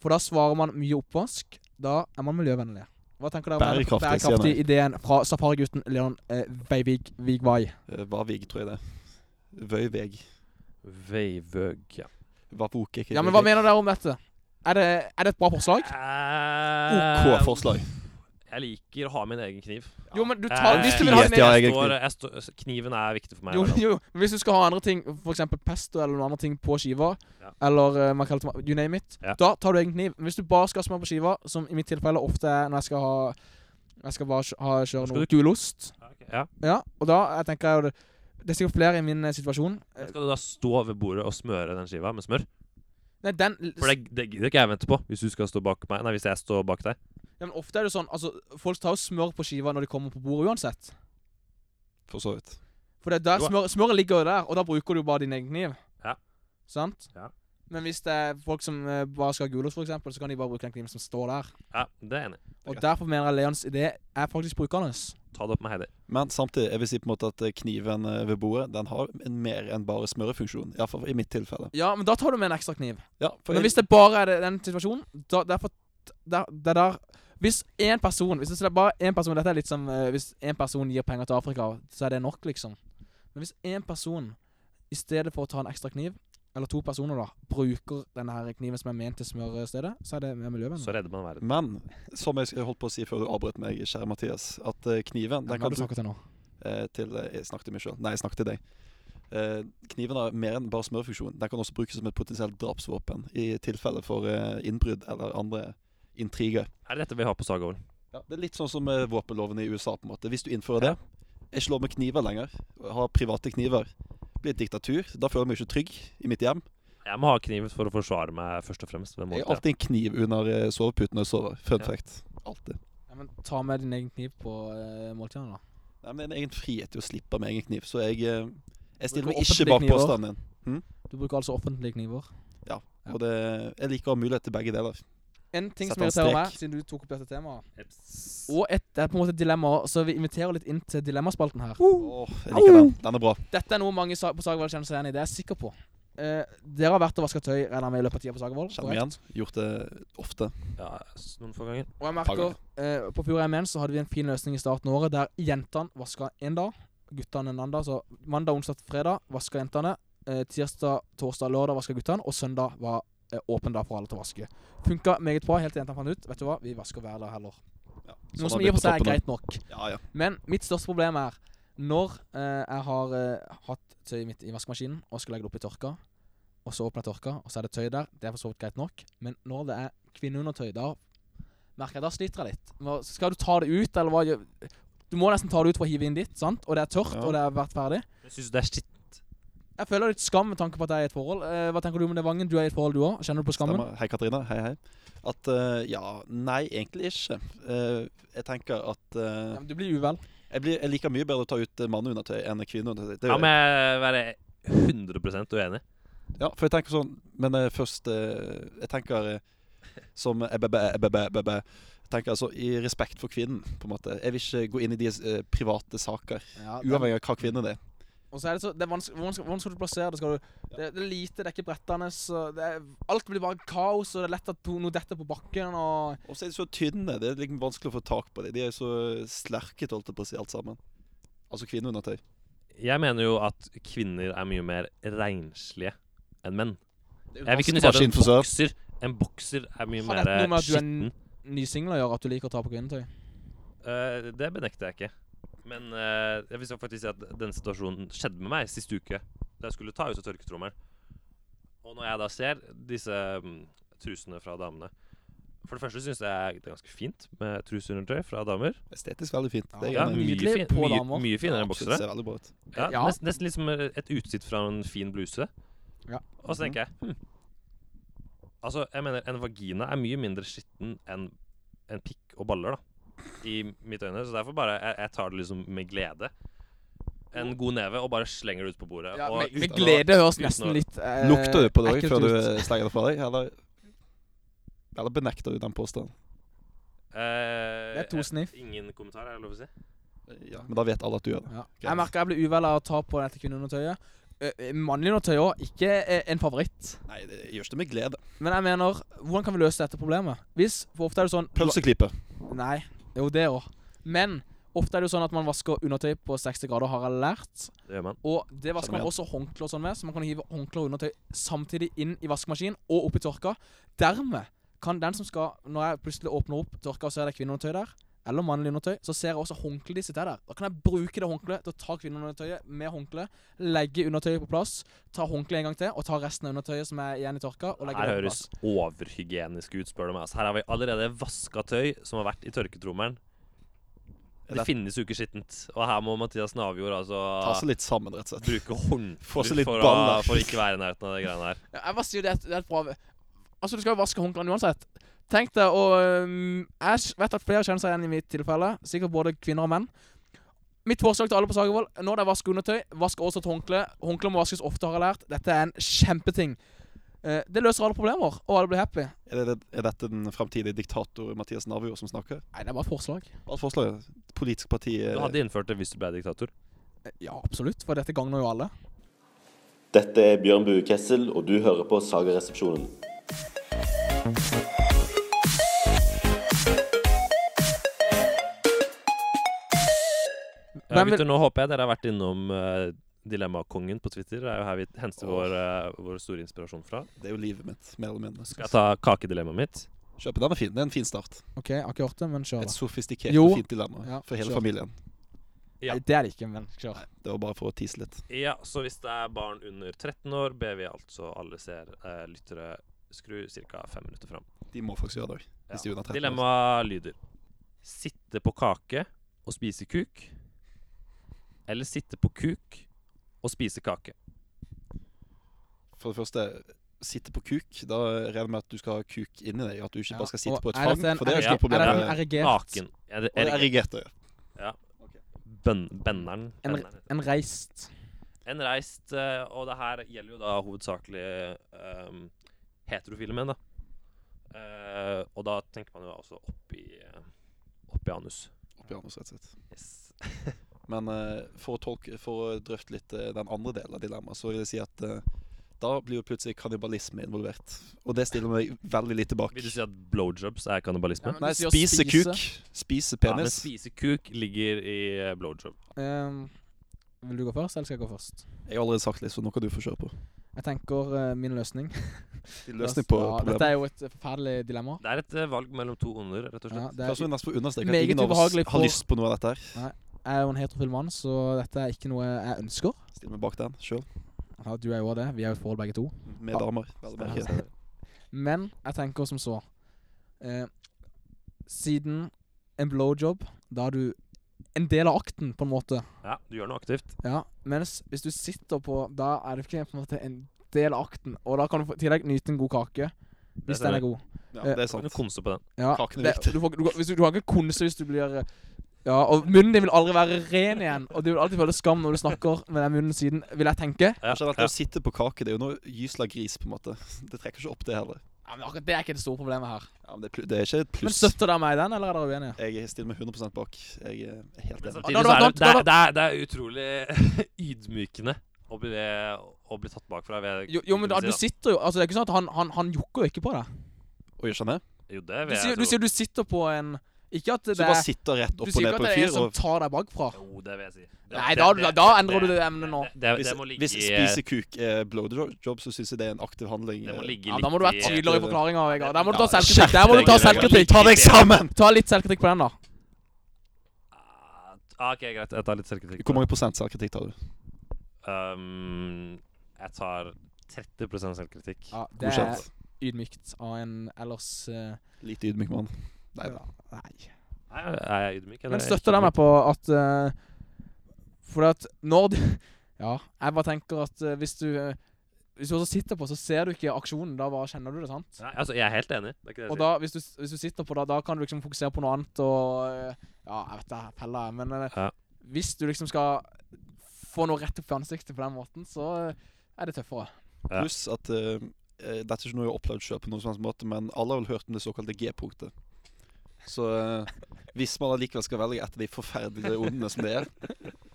Speaker 4: For da svarer man mye oppvask. Da er man miljøvennlig. Hva tenker dere om den
Speaker 2: Bærekraftig, sier
Speaker 4: bærekraftige ideen fra safarigutten Leon eh, Veivig Vigvai?
Speaker 2: Eh, Vavig, tror jeg det. Vøyveg.
Speaker 3: Veivøg, ja.
Speaker 2: Vavuke.
Speaker 4: Ja, men hva mener dere om dette? Er det, er det et bra forslag?
Speaker 2: OK forslag.
Speaker 3: Eh, Jeg liker å ha min egen kniv.
Speaker 4: Jo, men du
Speaker 3: Eh,
Speaker 4: tar Hvis du vil ha
Speaker 2: Yes,
Speaker 4: en
Speaker 2: ja,
Speaker 4: egen
Speaker 2: jeg er
Speaker 3: jeg står, jeg står, kniven er viktig for meg.
Speaker 4: jo,
Speaker 3: i hverdagen.
Speaker 4: jo, men hvis du skal ha andre ting, f.eks. pesto eller noen andre ting på skiva,
Speaker 3: Ja.
Speaker 4: eller uh, makrell tomat- you name it,
Speaker 3: Ja.
Speaker 4: da tar du egen kniv. Men Hvis du bare skal ha smør på skiva, som i mitt tilfelle ofte er når jeg skal ha Jeg skal bare kjø- ha, kjøre
Speaker 3: Skal
Speaker 4: noe
Speaker 3: du-
Speaker 4: gulost
Speaker 3: Ja.
Speaker 4: Ja, og da jeg tenker jeg jo det Det er sikkert flere i min eh, situasjon. Eh,
Speaker 3: Skal du da stå ved bordet og smøre den skiva med smør?
Speaker 4: Nei, den
Speaker 3: For det, det gidder ikke jeg vente på hvis du skal stå bak meg. Nei, hvis jeg står bak deg.
Speaker 4: ja, men Ofte er det jo sånn Altså, folk tar jo smør på skiva når de kommer på bordet uansett.
Speaker 2: For så vidt.
Speaker 4: For det er der
Speaker 3: Jo.
Speaker 4: smør, smøret ligger jo der, og da bruker du jo bare din egen kniv.
Speaker 3: Ja.
Speaker 4: Sant?
Speaker 3: Ja.
Speaker 4: Men hvis det er folk som eh, bare skal ha gulost, for eksempel, så kan de bare bruke den kniven som står der.
Speaker 3: Ja, det er jeg enig. i.
Speaker 4: Og
Speaker 2: greit.
Speaker 4: derfor mener jeg Leons idé er faktisk brukende.
Speaker 3: Ta det opp med Heidi.
Speaker 2: Men samtidig, jeg vil si på en måte at eh, kniven eh, ved bordet Den har en mer enn bare smørefunksjon. Iallfall i mitt tilfelle.
Speaker 4: Ja, men da tar du med en ekstra kniv.
Speaker 2: Ja, for
Speaker 4: Men
Speaker 2: jeg,
Speaker 4: hvis det bare er det- den situasjonen, da derfor der, Det er der Hvis én person Hvis det er bare én person Dette er litt som eh, hvis én person gir penger til Afrika, så er det nok, liksom. Men hvis én person, i stedet for å ta en ekstra kniv, eller to personer, da, bruker denne her kniven som er ment til smørestedet, så er det mer miljøvennlig.
Speaker 3: Så redder man verden.
Speaker 2: men som jeg sk- holdt på å si før du avbrøt meg, kjære Mathias, at eh, kniven
Speaker 4: Ja,
Speaker 2: den
Speaker 4: hva
Speaker 2: kan
Speaker 4: har du
Speaker 2: du
Speaker 4: snakket til nå?
Speaker 2: eh, til eh, Jeg snakket til meg sjøl. Nei, jeg snakket til deg. Eh, kniven har mer enn bare smørfunksjon. Den kan også brukes som et potensielt drapsvåpen i tilfelle for eh, innbrudd eller andre intriger.
Speaker 3: Er det dette vi har på Sagavålen?
Speaker 2: Det er litt sånn som eh, våpenloven i USA. på en måte Hvis du innfører det, ikke lov med kniver lenger, ha private kniver, blir et diktatur. Da føler jeg meg ikke trygg i mitt hjem.
Speaker 3: Jeg må ha kniv for å forsvare meg, først og fremst. ved
Speaker 2: Jeg
Speaker 3: måten,
Speaker 2: har alltid en kniv under eh, soveputen når jeg sover. Fun
Speaker 3: Ja.
Speaker 2: fact. Alltid.
Speaker 4: Ja, men ta med din egen kniv på uh, måltidene, da.
Speaker 2: Nei, men det er en egen frihet til å slippe med egen kniv, så jeg, eh, jeg stiller meg
Speaker 4: Bruker
Speaker 2: ikke
Speaker 4: offentlige
Speaker 2: bak
Speaker 4: kniver.
Speaker 2: påstanden din.
Speaker 4: Du bruker altså offentlige kniver. Ja.
Speaker 2: Og det, jeg liker å ha mulighet til begge deler.
Speaker 4: En ting
Speaker 2: Sett
Speaker 4: som
Speaker 2: en
Speaker 4: irriterer
Speaker 2: strek.
Speaker 4: meg, siden du tok opp dette temaet
Speaker 3: ja. Eps.
Speaker 4: Og et, det er på en måte et dilemma, så vi inviterer litt inn til dilemmaspalten her.
Speaker 2: Åh, jeg liker den. Den er bra.
Speaker 4: Dette er noe mange sa- på Sagervold kjenner seg igjen i, det er jeg sikker på. Eh, dere har vært og vaska tøy regner jeg med i løpet av tida på Sagervold.
Speaker 2: Kjenner meg igjen. Gjort det ofte.
Speaker 3: Ja, s- noen få ganger.
Speaker 4: Og jeg
Speaker 2: Fager.
Speaker 4: merker, eh, på Fjord MN så hadde vi en fin løsning i starten av året, der jentene vaska én dag, guttene en annen dag. Så mandag, onsdag, fredag vaska jentene. Eh, tirsdag, torsdag, lørdag vaska guttene. Og søndag var eh, åpen dag for alle til å vaske. Funka meget bra, helt til jentene fant ut Vet du hva, vi vasker hver dag heller.
Speaker 2: Ja.
Speaker 4: Noe
Speaker 2: Sånn har
Speaker 4: som
Speaker 2: det
Speaker 4: i og
Speaker 2: blitt
Speaker 4: for seg er
Speaker 2: toppen.
Speaker 4: greit nok.
Speaker 2: Ja, ja.
Speaker 4: Men mitt største problem er når eh, jeg har eh, hatt tøyet mitt i vaskemaskinen og skal legge det opp i tørka, og så åpner jeg tørka, og så er det tøy der. Det er for så vidt greit nok. Men når det er kvinneundertøy, da merker jeg da sliter jeg litt. Hva- Skal du ta det ut, eller hva gjør Du må nesten ta det ut for å hive inn ditt, sant? og det er tørt,
Speaker 2: Ja.
Speaker 4: og det har vært ferdig.
Speaker 3: Jeg syns det er skitt.
Speaker 4: Jeg føler litt skam med tanke på at jeg er i et forhold. Eh, hva tenker du om det, Vangen? Du er i et forhold, du òg. Kjenner du på skammen?
Speaker 2: Stemmer. Hei, Katrine. Hei, hei. At eh, Ja, nei, egentlig ikke. Eh, jeg tenker at eh,
Speaker 4: Ja, men du blir uvel.
Speaker 2: jeg, blir, jeg liker mye bedre å ta ut eh, manneundertøy enn kvinneundertøy. Det
Speaker 3: Ja,
Speaker 2: gjør
Speaker 3: men
Speaker 2: jeg.
Speaker 3: jeg være 100 uenig.
Speaker 2: Ja, for jeg tenker sånn Men eh, først eh, Jeg tenker eh, som eh, bæ, bæ, bæ, bæ, bæ, bæ. Jeg tenker altså i respekt for kvinnen, på en måte. Jeg vil ikke gå inn i deres eh, private saker,
Speaker 4: Ja, den-
Speaker 2: uavhengig av hva kvinnen er.
Speaker 4: Og så er det så det er vanskelig, Hvordan skal, hvordan skal du plassere det? Skal du, det, det er lite, det er ikke brettende. Så det er, alt blir bare kaos, og det er lett at to- noe detter på bakken. og...
Speaker 2: Og så er de så tynne. Det er liksom vanskelig å få tak på dem. De er så slerket, holdt jeg på å si, alt sammen. Altså kvinneundertøy.
Speaker 3: Jeg mener jo at kvinner er mye mer renslige enn menn.
Speaker 2: Det er jo
Speaker 3: Jeg vil kunne si at en
Speaker 2: vaskemaskin for søt.
Speaker 3: bokser, en bokser er mye
Speaker 4: Har
Speaker 3: mer
Speaker 4: dette noe med at du er
Speaker 3: skitten.
Speaker 4: en- Nysingler gjør at du liker å ta på kvinnetøy.
Speaker 3: Eh, det benekter jeg ikke. Men eh, jeg vil så faktisk si at denne situasjonen skjedde med meg sist uke. Da jeg skulle ta ut av tørketrommelen. Og når jeg da ser disse mm, trusene fra damene For det første syns jeg det er ganske fint med truseundertøy fra damer.
Speaker 2: Estetisk veldig fint. Det er
Speaker 3: Ja,
Speaker 2: jeg enig i.
Speaker 3: mye,
Speaker 4: nydelig
Speaker 3: fin,
Speaker 4: på
Speaker 3: mye,
Speaker 4: damer.
Speaker 3: mye finere
Speaker 2: Ja,
Speaker 3: enn
Speaker 2: absolutt,
Speaker 3: boksere.
Speaker 2: Ser veldig bra ut.
Speaker 3: Ja,
Speaker 4: Ja.
Speaker 3: Nesten, nesten litt som eh, et utsikt fra en fin bluse.
Speaker 4: Ja. Mhm.
Speaker 3: Og så tenker jeg hm. Altså, jeg mener, en vagina er mye mindre skitten enn en pikk og baller, da. I mitt øyne. Så derfor bare Jeg, jeg tar det liksom med glede. En god neve, og bare slenger det ut på bordet.
Speaker 4: Ja,
Speaker 3: og
Speaker 4: med, med
Speaker 3: uten-
Speaker 4: glede høres
Speaker 3: uten
Speaker 4: nesten
Speaker 3: å-
Speaker 4: litt eh,
Speaker 2: Lukter du på det òg
Speaker 4: ekkelt
Speaker 2: før du
Speaker 4: ut.
Speaker 2: eh, slenger det fra deg, eller Eller benekter du den påstanden?
Speaker 3: Eh,
Speaker 4: Det er to
Speaker 3: eh,
Speaker 4: sniff.
Speaker 3: Ingen kommentar, er det lov å si?
Speaker 2: Ja, men da vet alle at du gjør det.
Speaker 4: Ja.
Speaker 2: Greit.
Speaker 4: Jeg merker jeg blir uvel av å ta på dette kvinneundertøyet. Eh, eh, Mannlig undertøy òg, ikke eh, en favoritt.
Speaker 2: Nei, det gjør ikke det med glede.
Speaker 4: Men jeg mener, hvordan kan vi løse dette problemet? Hvis, for ofte er det sånn
Speaker 2: Pølseklype.
Speaker 4: Nei. Jo, det òg. Men ofte er det jo sånn at man vasker undertøy på 60 grader, har jeg lært.
Speaker 3: Det gjør man.
Speaker 4: Og det vasker
Speaker 2: Samme
Speaker 4: man
Speaker 2: igjen.
Speaker 4: også håndklær og sånn med, så man kan hive håndklær og undertøy samtidig inn i vaskemaskinen og opp i tørka. Dermed kan den som skal Når jeg plutselig åpner opp tørka og ser det er kvinneundertøy der, eller mannlig undertøy, så ser jeg også håndkleet de sitter der. Da kan jeg bruke det håndkleet til å ta kvinneundertøyet med håndkle, legge undertøyet på plass, ta håndkleet en gang til og ta resten av undertøyet som er igjen i tørka, og legge
Speaker 3: Her
Speaker 4: det på
Speaker 3: høres
Speaker 4: plass.
Speaker 3: overhygienisk ut, spør du meg. Altså, her har vi allerede vaska tøy som har vært i tørketrommelen. Det
Speaker 2: Eller-
Speaker 3: finnes jo ikke skittent. Og her må Mathias Navjord altså
Speaker 2: Ta seg litt sammen, rett og slett.
Speaker 3: bruke
Speaker 2: Få seg
Speaker 3: håndflukt
Speaker 2: litt
Speaker 3: for, å-
Speaker 2: baller.
Speaker 3: for å ikke være i nærheten av det greiene der.
Speaker 4: Ja, jeg bare sier det, er et- det er et bra Altså, du skal jo vaske håndklærne uansett. Tenk deg å øhm, Jeg s- vet at flere kjenner seg igjen i mitt tilfelle. Sikkert både kvinner og menn. Mitt forslag til alle på Sagervoll når det er vask undertøy, vask også et håndkle. Håndkle må vaskes ofte, har jeg lært. Dette er en kjempeting. Eh, det løser alle problemer, og alle blir happy.
Speaker 2: Er, det, er dette den framtidige diktator Mathias Navjord som snakker?
Speaker 4: Nei, det er bare et forslag.
Speaker 2: Bare et forslag. Politisk parti eh,
Speaker 3: Du hadde innført det hvis du ble diktator.
Speaker 4: Eh, Ja, absolutt, for dette gagner jo alle.
Speaker 7: Dette er Bjørn Bue Kessel, og du hører på Sagaresepsjonen.
Speaker 3: Ja,
Speaker 4: Hvem vil-
Speaker 3: gutter, nå håper jeg dere har vært innom eh, Dilemmakongen på Twitter. Det er jo her vi henter vår, eh, vår store inspirasjon fra.
Speaker 2: Det er jo livet mitt, mer eller mindre.
Speaker 3: Skal jeg ta kakedilemmaet mitt?
Speaker 2: Kjøpe den er fin. Det er en fin start.
Speaker 4: OK, jeg har ikke hørt det, men kjør.
Speaker 2: Et
Speaker 4: da.
Speaker 2: sofistikert
Speaker 4: Jo.
Speaker 2: og fint dilemma
Speaker 4: Ja,
Speaker 2: for hele
Speaker 4: kjør.
Speaker 2: familien.
Speaker 3: Ja.
Speaker 4: Nei, det er det ikke, men kjør.
Speaker 2: Det var bare for å tise litt.
Speaker 3: Ja, så hvis det er barn under 13 år, ber vi altså alle ser, eh, lyttere skru ca. fem minutter fram.
Speaker 2: De må faktisk gjøre det òg.
Speaker 3: Ja.
Speaker 2: Hvis de er under 13 år.
Speaker 3: Dilemma lyder Sitte på kake og spise kuk, eller sitte på kuk og spise kake.
Speaker 2: For det første, sitte på kuk. Da regner jeg med at du skal ha kuk inni deg. At du ikke
Speaker 4: Ja,
Speaker 2: bare skal sitte
Speaker 4: og
Speaker 2: på et
Speaker 4: er
Speaker 2: fang.
Speaker 4: dette en
Speaker 2: For det er jo
Speaker 3: RG
Speaker 2: ikke noe problem.
Speaker 4: Er det en
Speaker 2: med-
Speaker 4: erigert
Speaker 3: Naken. Er det
Speaker 2: Og det er
Speaker 3: er det-
Speaker 2: erigert, ja.
Speaker 3: bønn- Benneren.
Speaker 4: En-
Speaker 3: Benneren.
Speaker 4: En reist
Speaker 3: En reist, eh, og det her gjelder jo da hovedsakelig um, heterofile menn, da. Eh, og da tenker man jo også oppi, oppi anus.
Speaker 2: Oppi anus, rett og slett.
Speaker 3: Yes.
Speaker 2: Men eh, for, å tolke, for å drøfte litt eh, den andre delen av dilemmaet, så vil jeg si at eh, da blir jo plutselig kannibalisme involvert. Og det stiller meg veldig litt tilbake.
Speaker 3: Vil du si at blowjobs er kannibalisme?
Speaker 4: Ja, men
Speaker 2: Nei,
Speaker 4: du sier å
Speaker 2: spise
Speaker 4: spise.
Speaker 2: kuk. Spise
Speaker 3: Ja, men
Speaker 2: penis.
Speaker 3: spise kuk ligger i eh, blowjob.
Speaker 4: Ehm, Vil du gå først, eller skal jeg gå først?
Speaker 2: Jeg har allerede sagt litt, så nå kan du få kjøre på.
Speaker 4: Jeg tenker eh, min løsning.
Speaker 2: Din løsning på
Speaker 4: ja, Dette
Speaker 2: problemet.
Speaker 4: er jo et eh, forferdelig dilemma.
Speaker 3: Det er et eh, valg mellom to onder, rett og
Speaker 4: Ja,
Speaker 3: slett.
Speaker 4: det
Speaker 2: Først
Speaker 4: er,
Speaker 2: må jeg nesten få understreke at
Speaker 4: Meget
Speaker 2: ingen av oss har
Speaker 4: ubehagelig for-
Speaker 2: lyst på noe av dette her.
Speaker 4: jeg er jo en heterofil mann, så dette er ikke noe jeg ønsker.
Speaker 2: Still meg bak den sjøl,
Speaker 4: Ja, du er jo også det. Vi er jo i et forhold begge to.
Speaker 2: med
Speaker 4: Ja.
Speaker 2: damer. Vel å merke.
Speaker 4: Ja. Men jeg tenker som så eh, Siden en blowjob, da er du en del av akten, på en måte.
Speaker 3: Ja, du gjør noe aktivt.
Speaker 4: Ja, Mens hvis du sitter på, da er du ikke på en måte en del av akten. Og da kan du få- i tillegg nyte en god kake. Hvis
Speaker 3: stemmer.
Speaker 4: den er god.
Speaker 2: Ja,
Speaker 4: Eh,
Speaker 2: det er
Speaker 3: Kan du
Speaker 2: sant.
Speaker 3: konse på den?
Speaker 4: Ja,
Speaker 2: Kaken er
Speaker 4: det-
Speaker 2: viktig.
Speaker 4: Du, får, du, kan- hvis du, du kan ikke konse hvis du blir eh, Ja, og munnen din vil aldri være ren igjen. Og du vil alltid føle skam når du snakker med den munnen siden, vil jeg tenke.
Speaker 3: Ja,
Speaker 2: Generelt,
Speaker 3: ja.
Speaker 2: Å sitte på kake det er jo noe gysla gris, på en måte. Det trekker ikke opp, det heller.
Speaker 4: Ja, men akkurat Det er ikke det store problemet her.
Speaker 2: Ja, men det, er plu- det er ikke et
Speaker 4: Men
Speaker 2: pluss.
Speaker 4: Støtter dere meg i den, eller er dere uenige?
Speaker 2: Jeg stiller meg 100 bak. Jeg eh, er helt
Speaker 3: Men
Speaker 2: enig.
Speaker 3: samtidig
Speaker 4: da-
Speaker 3: så
Speaker 4: da-
Speaker 3: er det, det,
Speaker 4: da-
Speaker 3: er, det, er, det er utrolig ydmykende å bli, å bli tatt bakfra. ved-
Speaker 4: Jo, jo men da,
Speaker 3: vil
Speaker 4: du
Speaker 3: jeg si,
Speaker 4: sitter jo Altså, det er ikke sånn at han, han, han jokker jo ikke på deg.
Speaker 2: Og gjør sånn det?
Speaker 3: da. Jo, det
Speaker 4: Du
Speaker 3: vil jeg
Speaker 4: sier, du
Speaker 3: tro.
Speaker 4: sier du sitter på en Ikke at
Speaker 2: Så
Speaker 4: det
Speaker 2: du
Speaker 4: er
Speaker 2: bare sitter rett
Speaker 4: Du
Speaker 2: opp og
Speaker 4: sier
Speaker 2: ned
Speaker 4: ikke
Speaker 2: på
Speaker 4: at det
Speaker 2: en
Speaker 4: er en
Speaker 2: fyr,
Speaker 4: som
Speaker 2: og
Speaker 4: tar deg bakfra.
Speaker 3: Jo, det vil jeg si. Det-
Speaker 4: Nei,
Speaker 3: det-
Speaker 4: da,
Speaker 3: det-
Speaker 4: da, da endrer
Speaker 3: det-
Speaker 4: du det emnet nå.
Speaker 3: Det, det,
Speaker 2: hvis,
Speaker 3: det må ligge
Speaker 2: hvis
Speaker 4: eh,
Speaker 3: i
Speaker 2: spise kuk er blowjob, så syns jeg det er en aktiv handling. eh,
Speaker 3: Det må ligge
Speaker 4: Ja,
Speaker 3: litt
Speaker 4: da må du være
Speaker 3: i-
Speaker 4: tydeligere i forklaringa, Vegard. Der må du ta
Speaker 3: Ja,
Speaker 4: selvkritikk. Der må du ta
Speaker 3: skjerp deg,
Speaker 4: selvkritikk.
Speaker 3: Ta deg sammen!
Speaker 4: Ta litt selvkritikk på den, da.
Speaker 3: Ah, OK, greit. Jeg tar litt selvkritikk.
Speaker 2: Hvor mange prosent selvkritikk tar du?
Speaker 3: Um, jeg tar 30 selvkritikk.
Speaker 4: Ja, det er
Speaker 2: Godkjent.
Speaker 4: ydmykt av en ellers eh,
Speaker 2: Litt ydmyk mann. Nei da.
Speaker 4: Nei.
Speaker 3: Nei, er jeg ydmyk? eller
Speaker 4: Men
Speaker 3: er jeg
Speaker 4: støtter
Speaker 3: ikke
Speaker 4: deg meg på at eh, Fordi at når du Ja, jeg bare tenker at eh, hvis du eh, Hvis du også sitter på, så ser du ikke aksjonen. Da bare kjenner du det, sant?
Speaker 3: ydmyk? Nei, altså, jeg er helt enig. Det er ikke det jeg
Speaker 4: Og
Speaker 3: sier.
Speaker 4: da, hvis du, hvis du sitter på det, da kan du liksom fokusere på noe annet og eh, Ja, jeg vet det, pella, men eh,
Speaker 3: Ja.
Speaker 4: hvis du liksom skal få noe rett opp i ansiktet på den måten, så eh, er det tøffere.
Speaker 3: Ja.
Speaker 2: Pluss at eh, eh, dette er ikke noe jeg har opplevd selv på noen som helst måte, men alle har vel hørt om det såkalte G-punktet. Så eh, hvis man allikevel skal velge et av de forferdelige ondene som det er,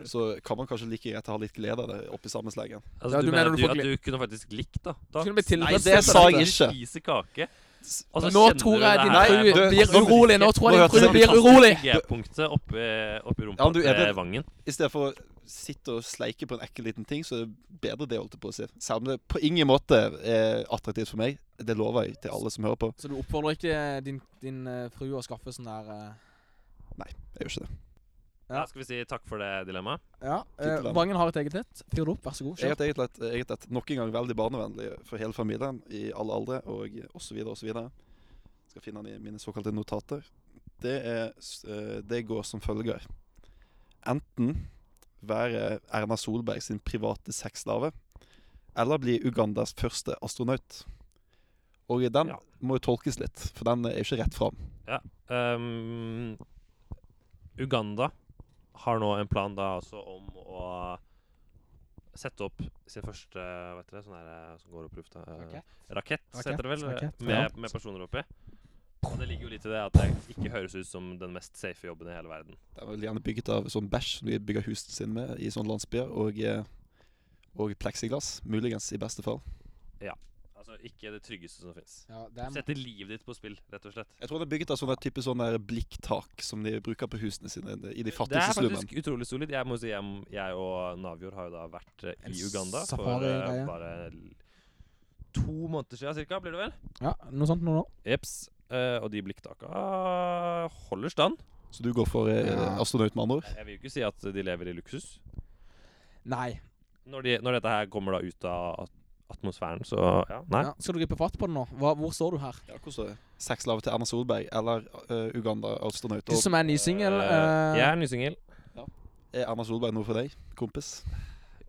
Speaker 2: så kan man kanskje like greit ha litt glede av det oppi samme slengen.
Speaker 3: altså,
Speaker 4: Ja,
Speaker 3: du,
Speaker 4: du
Speaker 3: mener
Speaker 4: mener
Speaker 3: at
Speaker 4: du får
Speaker 3: du, at du kunne faktisk likt, da? da.
Speaker 4: Skulle bli
Speaker 2: Nei,
Speaker 4: tilfreds-
Speaker 2: det sa jeg
Speaker 4: Dette.
Speaker 2: ikke.
Speaker 3: Spise kake. Og så
Speaker 4: Nå
Speaker 3: kjenner
Speaker 4: tror
Speaker 3: du
Speaker 4: jeg
Speaker 3: det
Speaker 4: din
Speaker 3: her-
Speaker 2: Nei,
Speaker 4: frue
Speaker 2: du-
Speaker 4: blir
Speaker 3: altså,
Speaker 2: nå-
Speaker 4: urolig. Nå tror
Speaker 2: Nå
Speaker 4: jeg din frue
Speaker 2: hørtes
Speaker 4: blir
Speaker 2: det
Speaker 4: urolig.
Speaker 3: G-punktet oppi, oppi rumpa
Speaker 2: Ja, men du, jeg
Speaker 3: til
Speaker 2: ble-
Speaker 3: Vangen.
Speaker 2: I stedet for å sitte og sleike på en ekkel liten ting, så er det bedre det, holdt jeg på å si. Selv om det på ingen måte er attraktivt for meg. Det lover jeg til alle som hører på.
Speaker 4: Så du oppfordrer ikke din, din eh, frue å skaffe sånn der eh,
Speaker 2: Jeg gjør ikke det.
Speaker 4: Ja.
Speaker 3: Ja, skal vi si takk for det dilemmaet?
Speaker 4: Ja. eh,
Speaker 2: Tittel, da.
Speaker 4: Vangen har et eget et. Fyr det opp, vær så god.
Speaker 2: Jeg
Speaker 4: Kjør.
Speaker 2: har egentlig et, eget et nok en gang veldig barnevennlig for hele familien i alle aldre, og osv., osv. Skal finne den i mine såkalte notater. Det, er, s- eh, det går som følger. Enten være Erna Solberg sin private sexslave, eller bli Ugandas første astronaut. Og den
Speaker 3: Ja.
Speaker 2: må jo tolkes litt, for den er jo ikke rett fram.
Speaker 3: Um, Uganda har nå en plan da altså om å sette opp sin første vet dere, sånn her, som går opp i lufta eh,
Speaker 4: Rakett.
Speaker 3: Rakett,
Speaker 4: Rakett,
Speaker 3: heter det vel.
Speaker 4: rakett,
Speaker 3: med,
Speaker 4: ja.
Speaker 3: med personer oppi. Og det ligger jo litt i det at det ikke høres ut som den mest safe jobben i hele verden.
Speaker 2: Den er vel gjerne bygget av sånn bæsj som de bygger husene sine med i sånne landsbyer, og, eh, og pleksiglass. Muligens, i beste fall.
Speaker 3: Altså ikke det tryggeste som fins.
Speaker 4: Ja,
Speaker 3: Du
Speaker 4: det er,
Speaker 3: setter livet ditt på spill, rett og slett.
Speaker 2: Jeg tror det er bygget av sånne type sånne der blikktak som de bruker på husene sine i de
Speaker 3: Det
Speaker 2: fattigste
Speaker 3: er
Speaker 2: slummen.
Speaker 3: faktisk utrolig solid. Jeg må si jeg, jeg og Navjord har jo da vært eh,
Speaker 4: En
Speaker 3: i Uganda for eh,
Speaker 4: safari-greie.
Speaker 3: bare l- to måneder siden cirka, blir det vel?
Speaker 4: ja, noe sånt nå nå.
Speaker 3: Jeps. Eh, og de blikktaket holder stand.
Speaker 2: Så du går for eh,
Speaker 4: Ja.
Speaker 2: astronaut, med andre ord?
Speaker 3: Jeg vil jo ikke si at de lever i luksus.
Speaker 4: Nei.
Speaker 3: Når, de, når dette her kommer da ut av at- atmosfæren, så ja, Nei.
Speaker 4: Ja. Skal du gripe fatt på det nå? Hva, hvor står du her?
Speaker 2: Ja, hvordan står det? Sexslave til Erna Solberg eller eh, Uganda-astronaut?
Speaker 4: Du
Speaker 2: Og
Speaker 4: som er ny singel.
Speaker 3: Eh, jeg
Speaker 4: eh,
Speaker 3: er nysingel.
Speaker 2: er Erna Solberg noe for deg, kompis?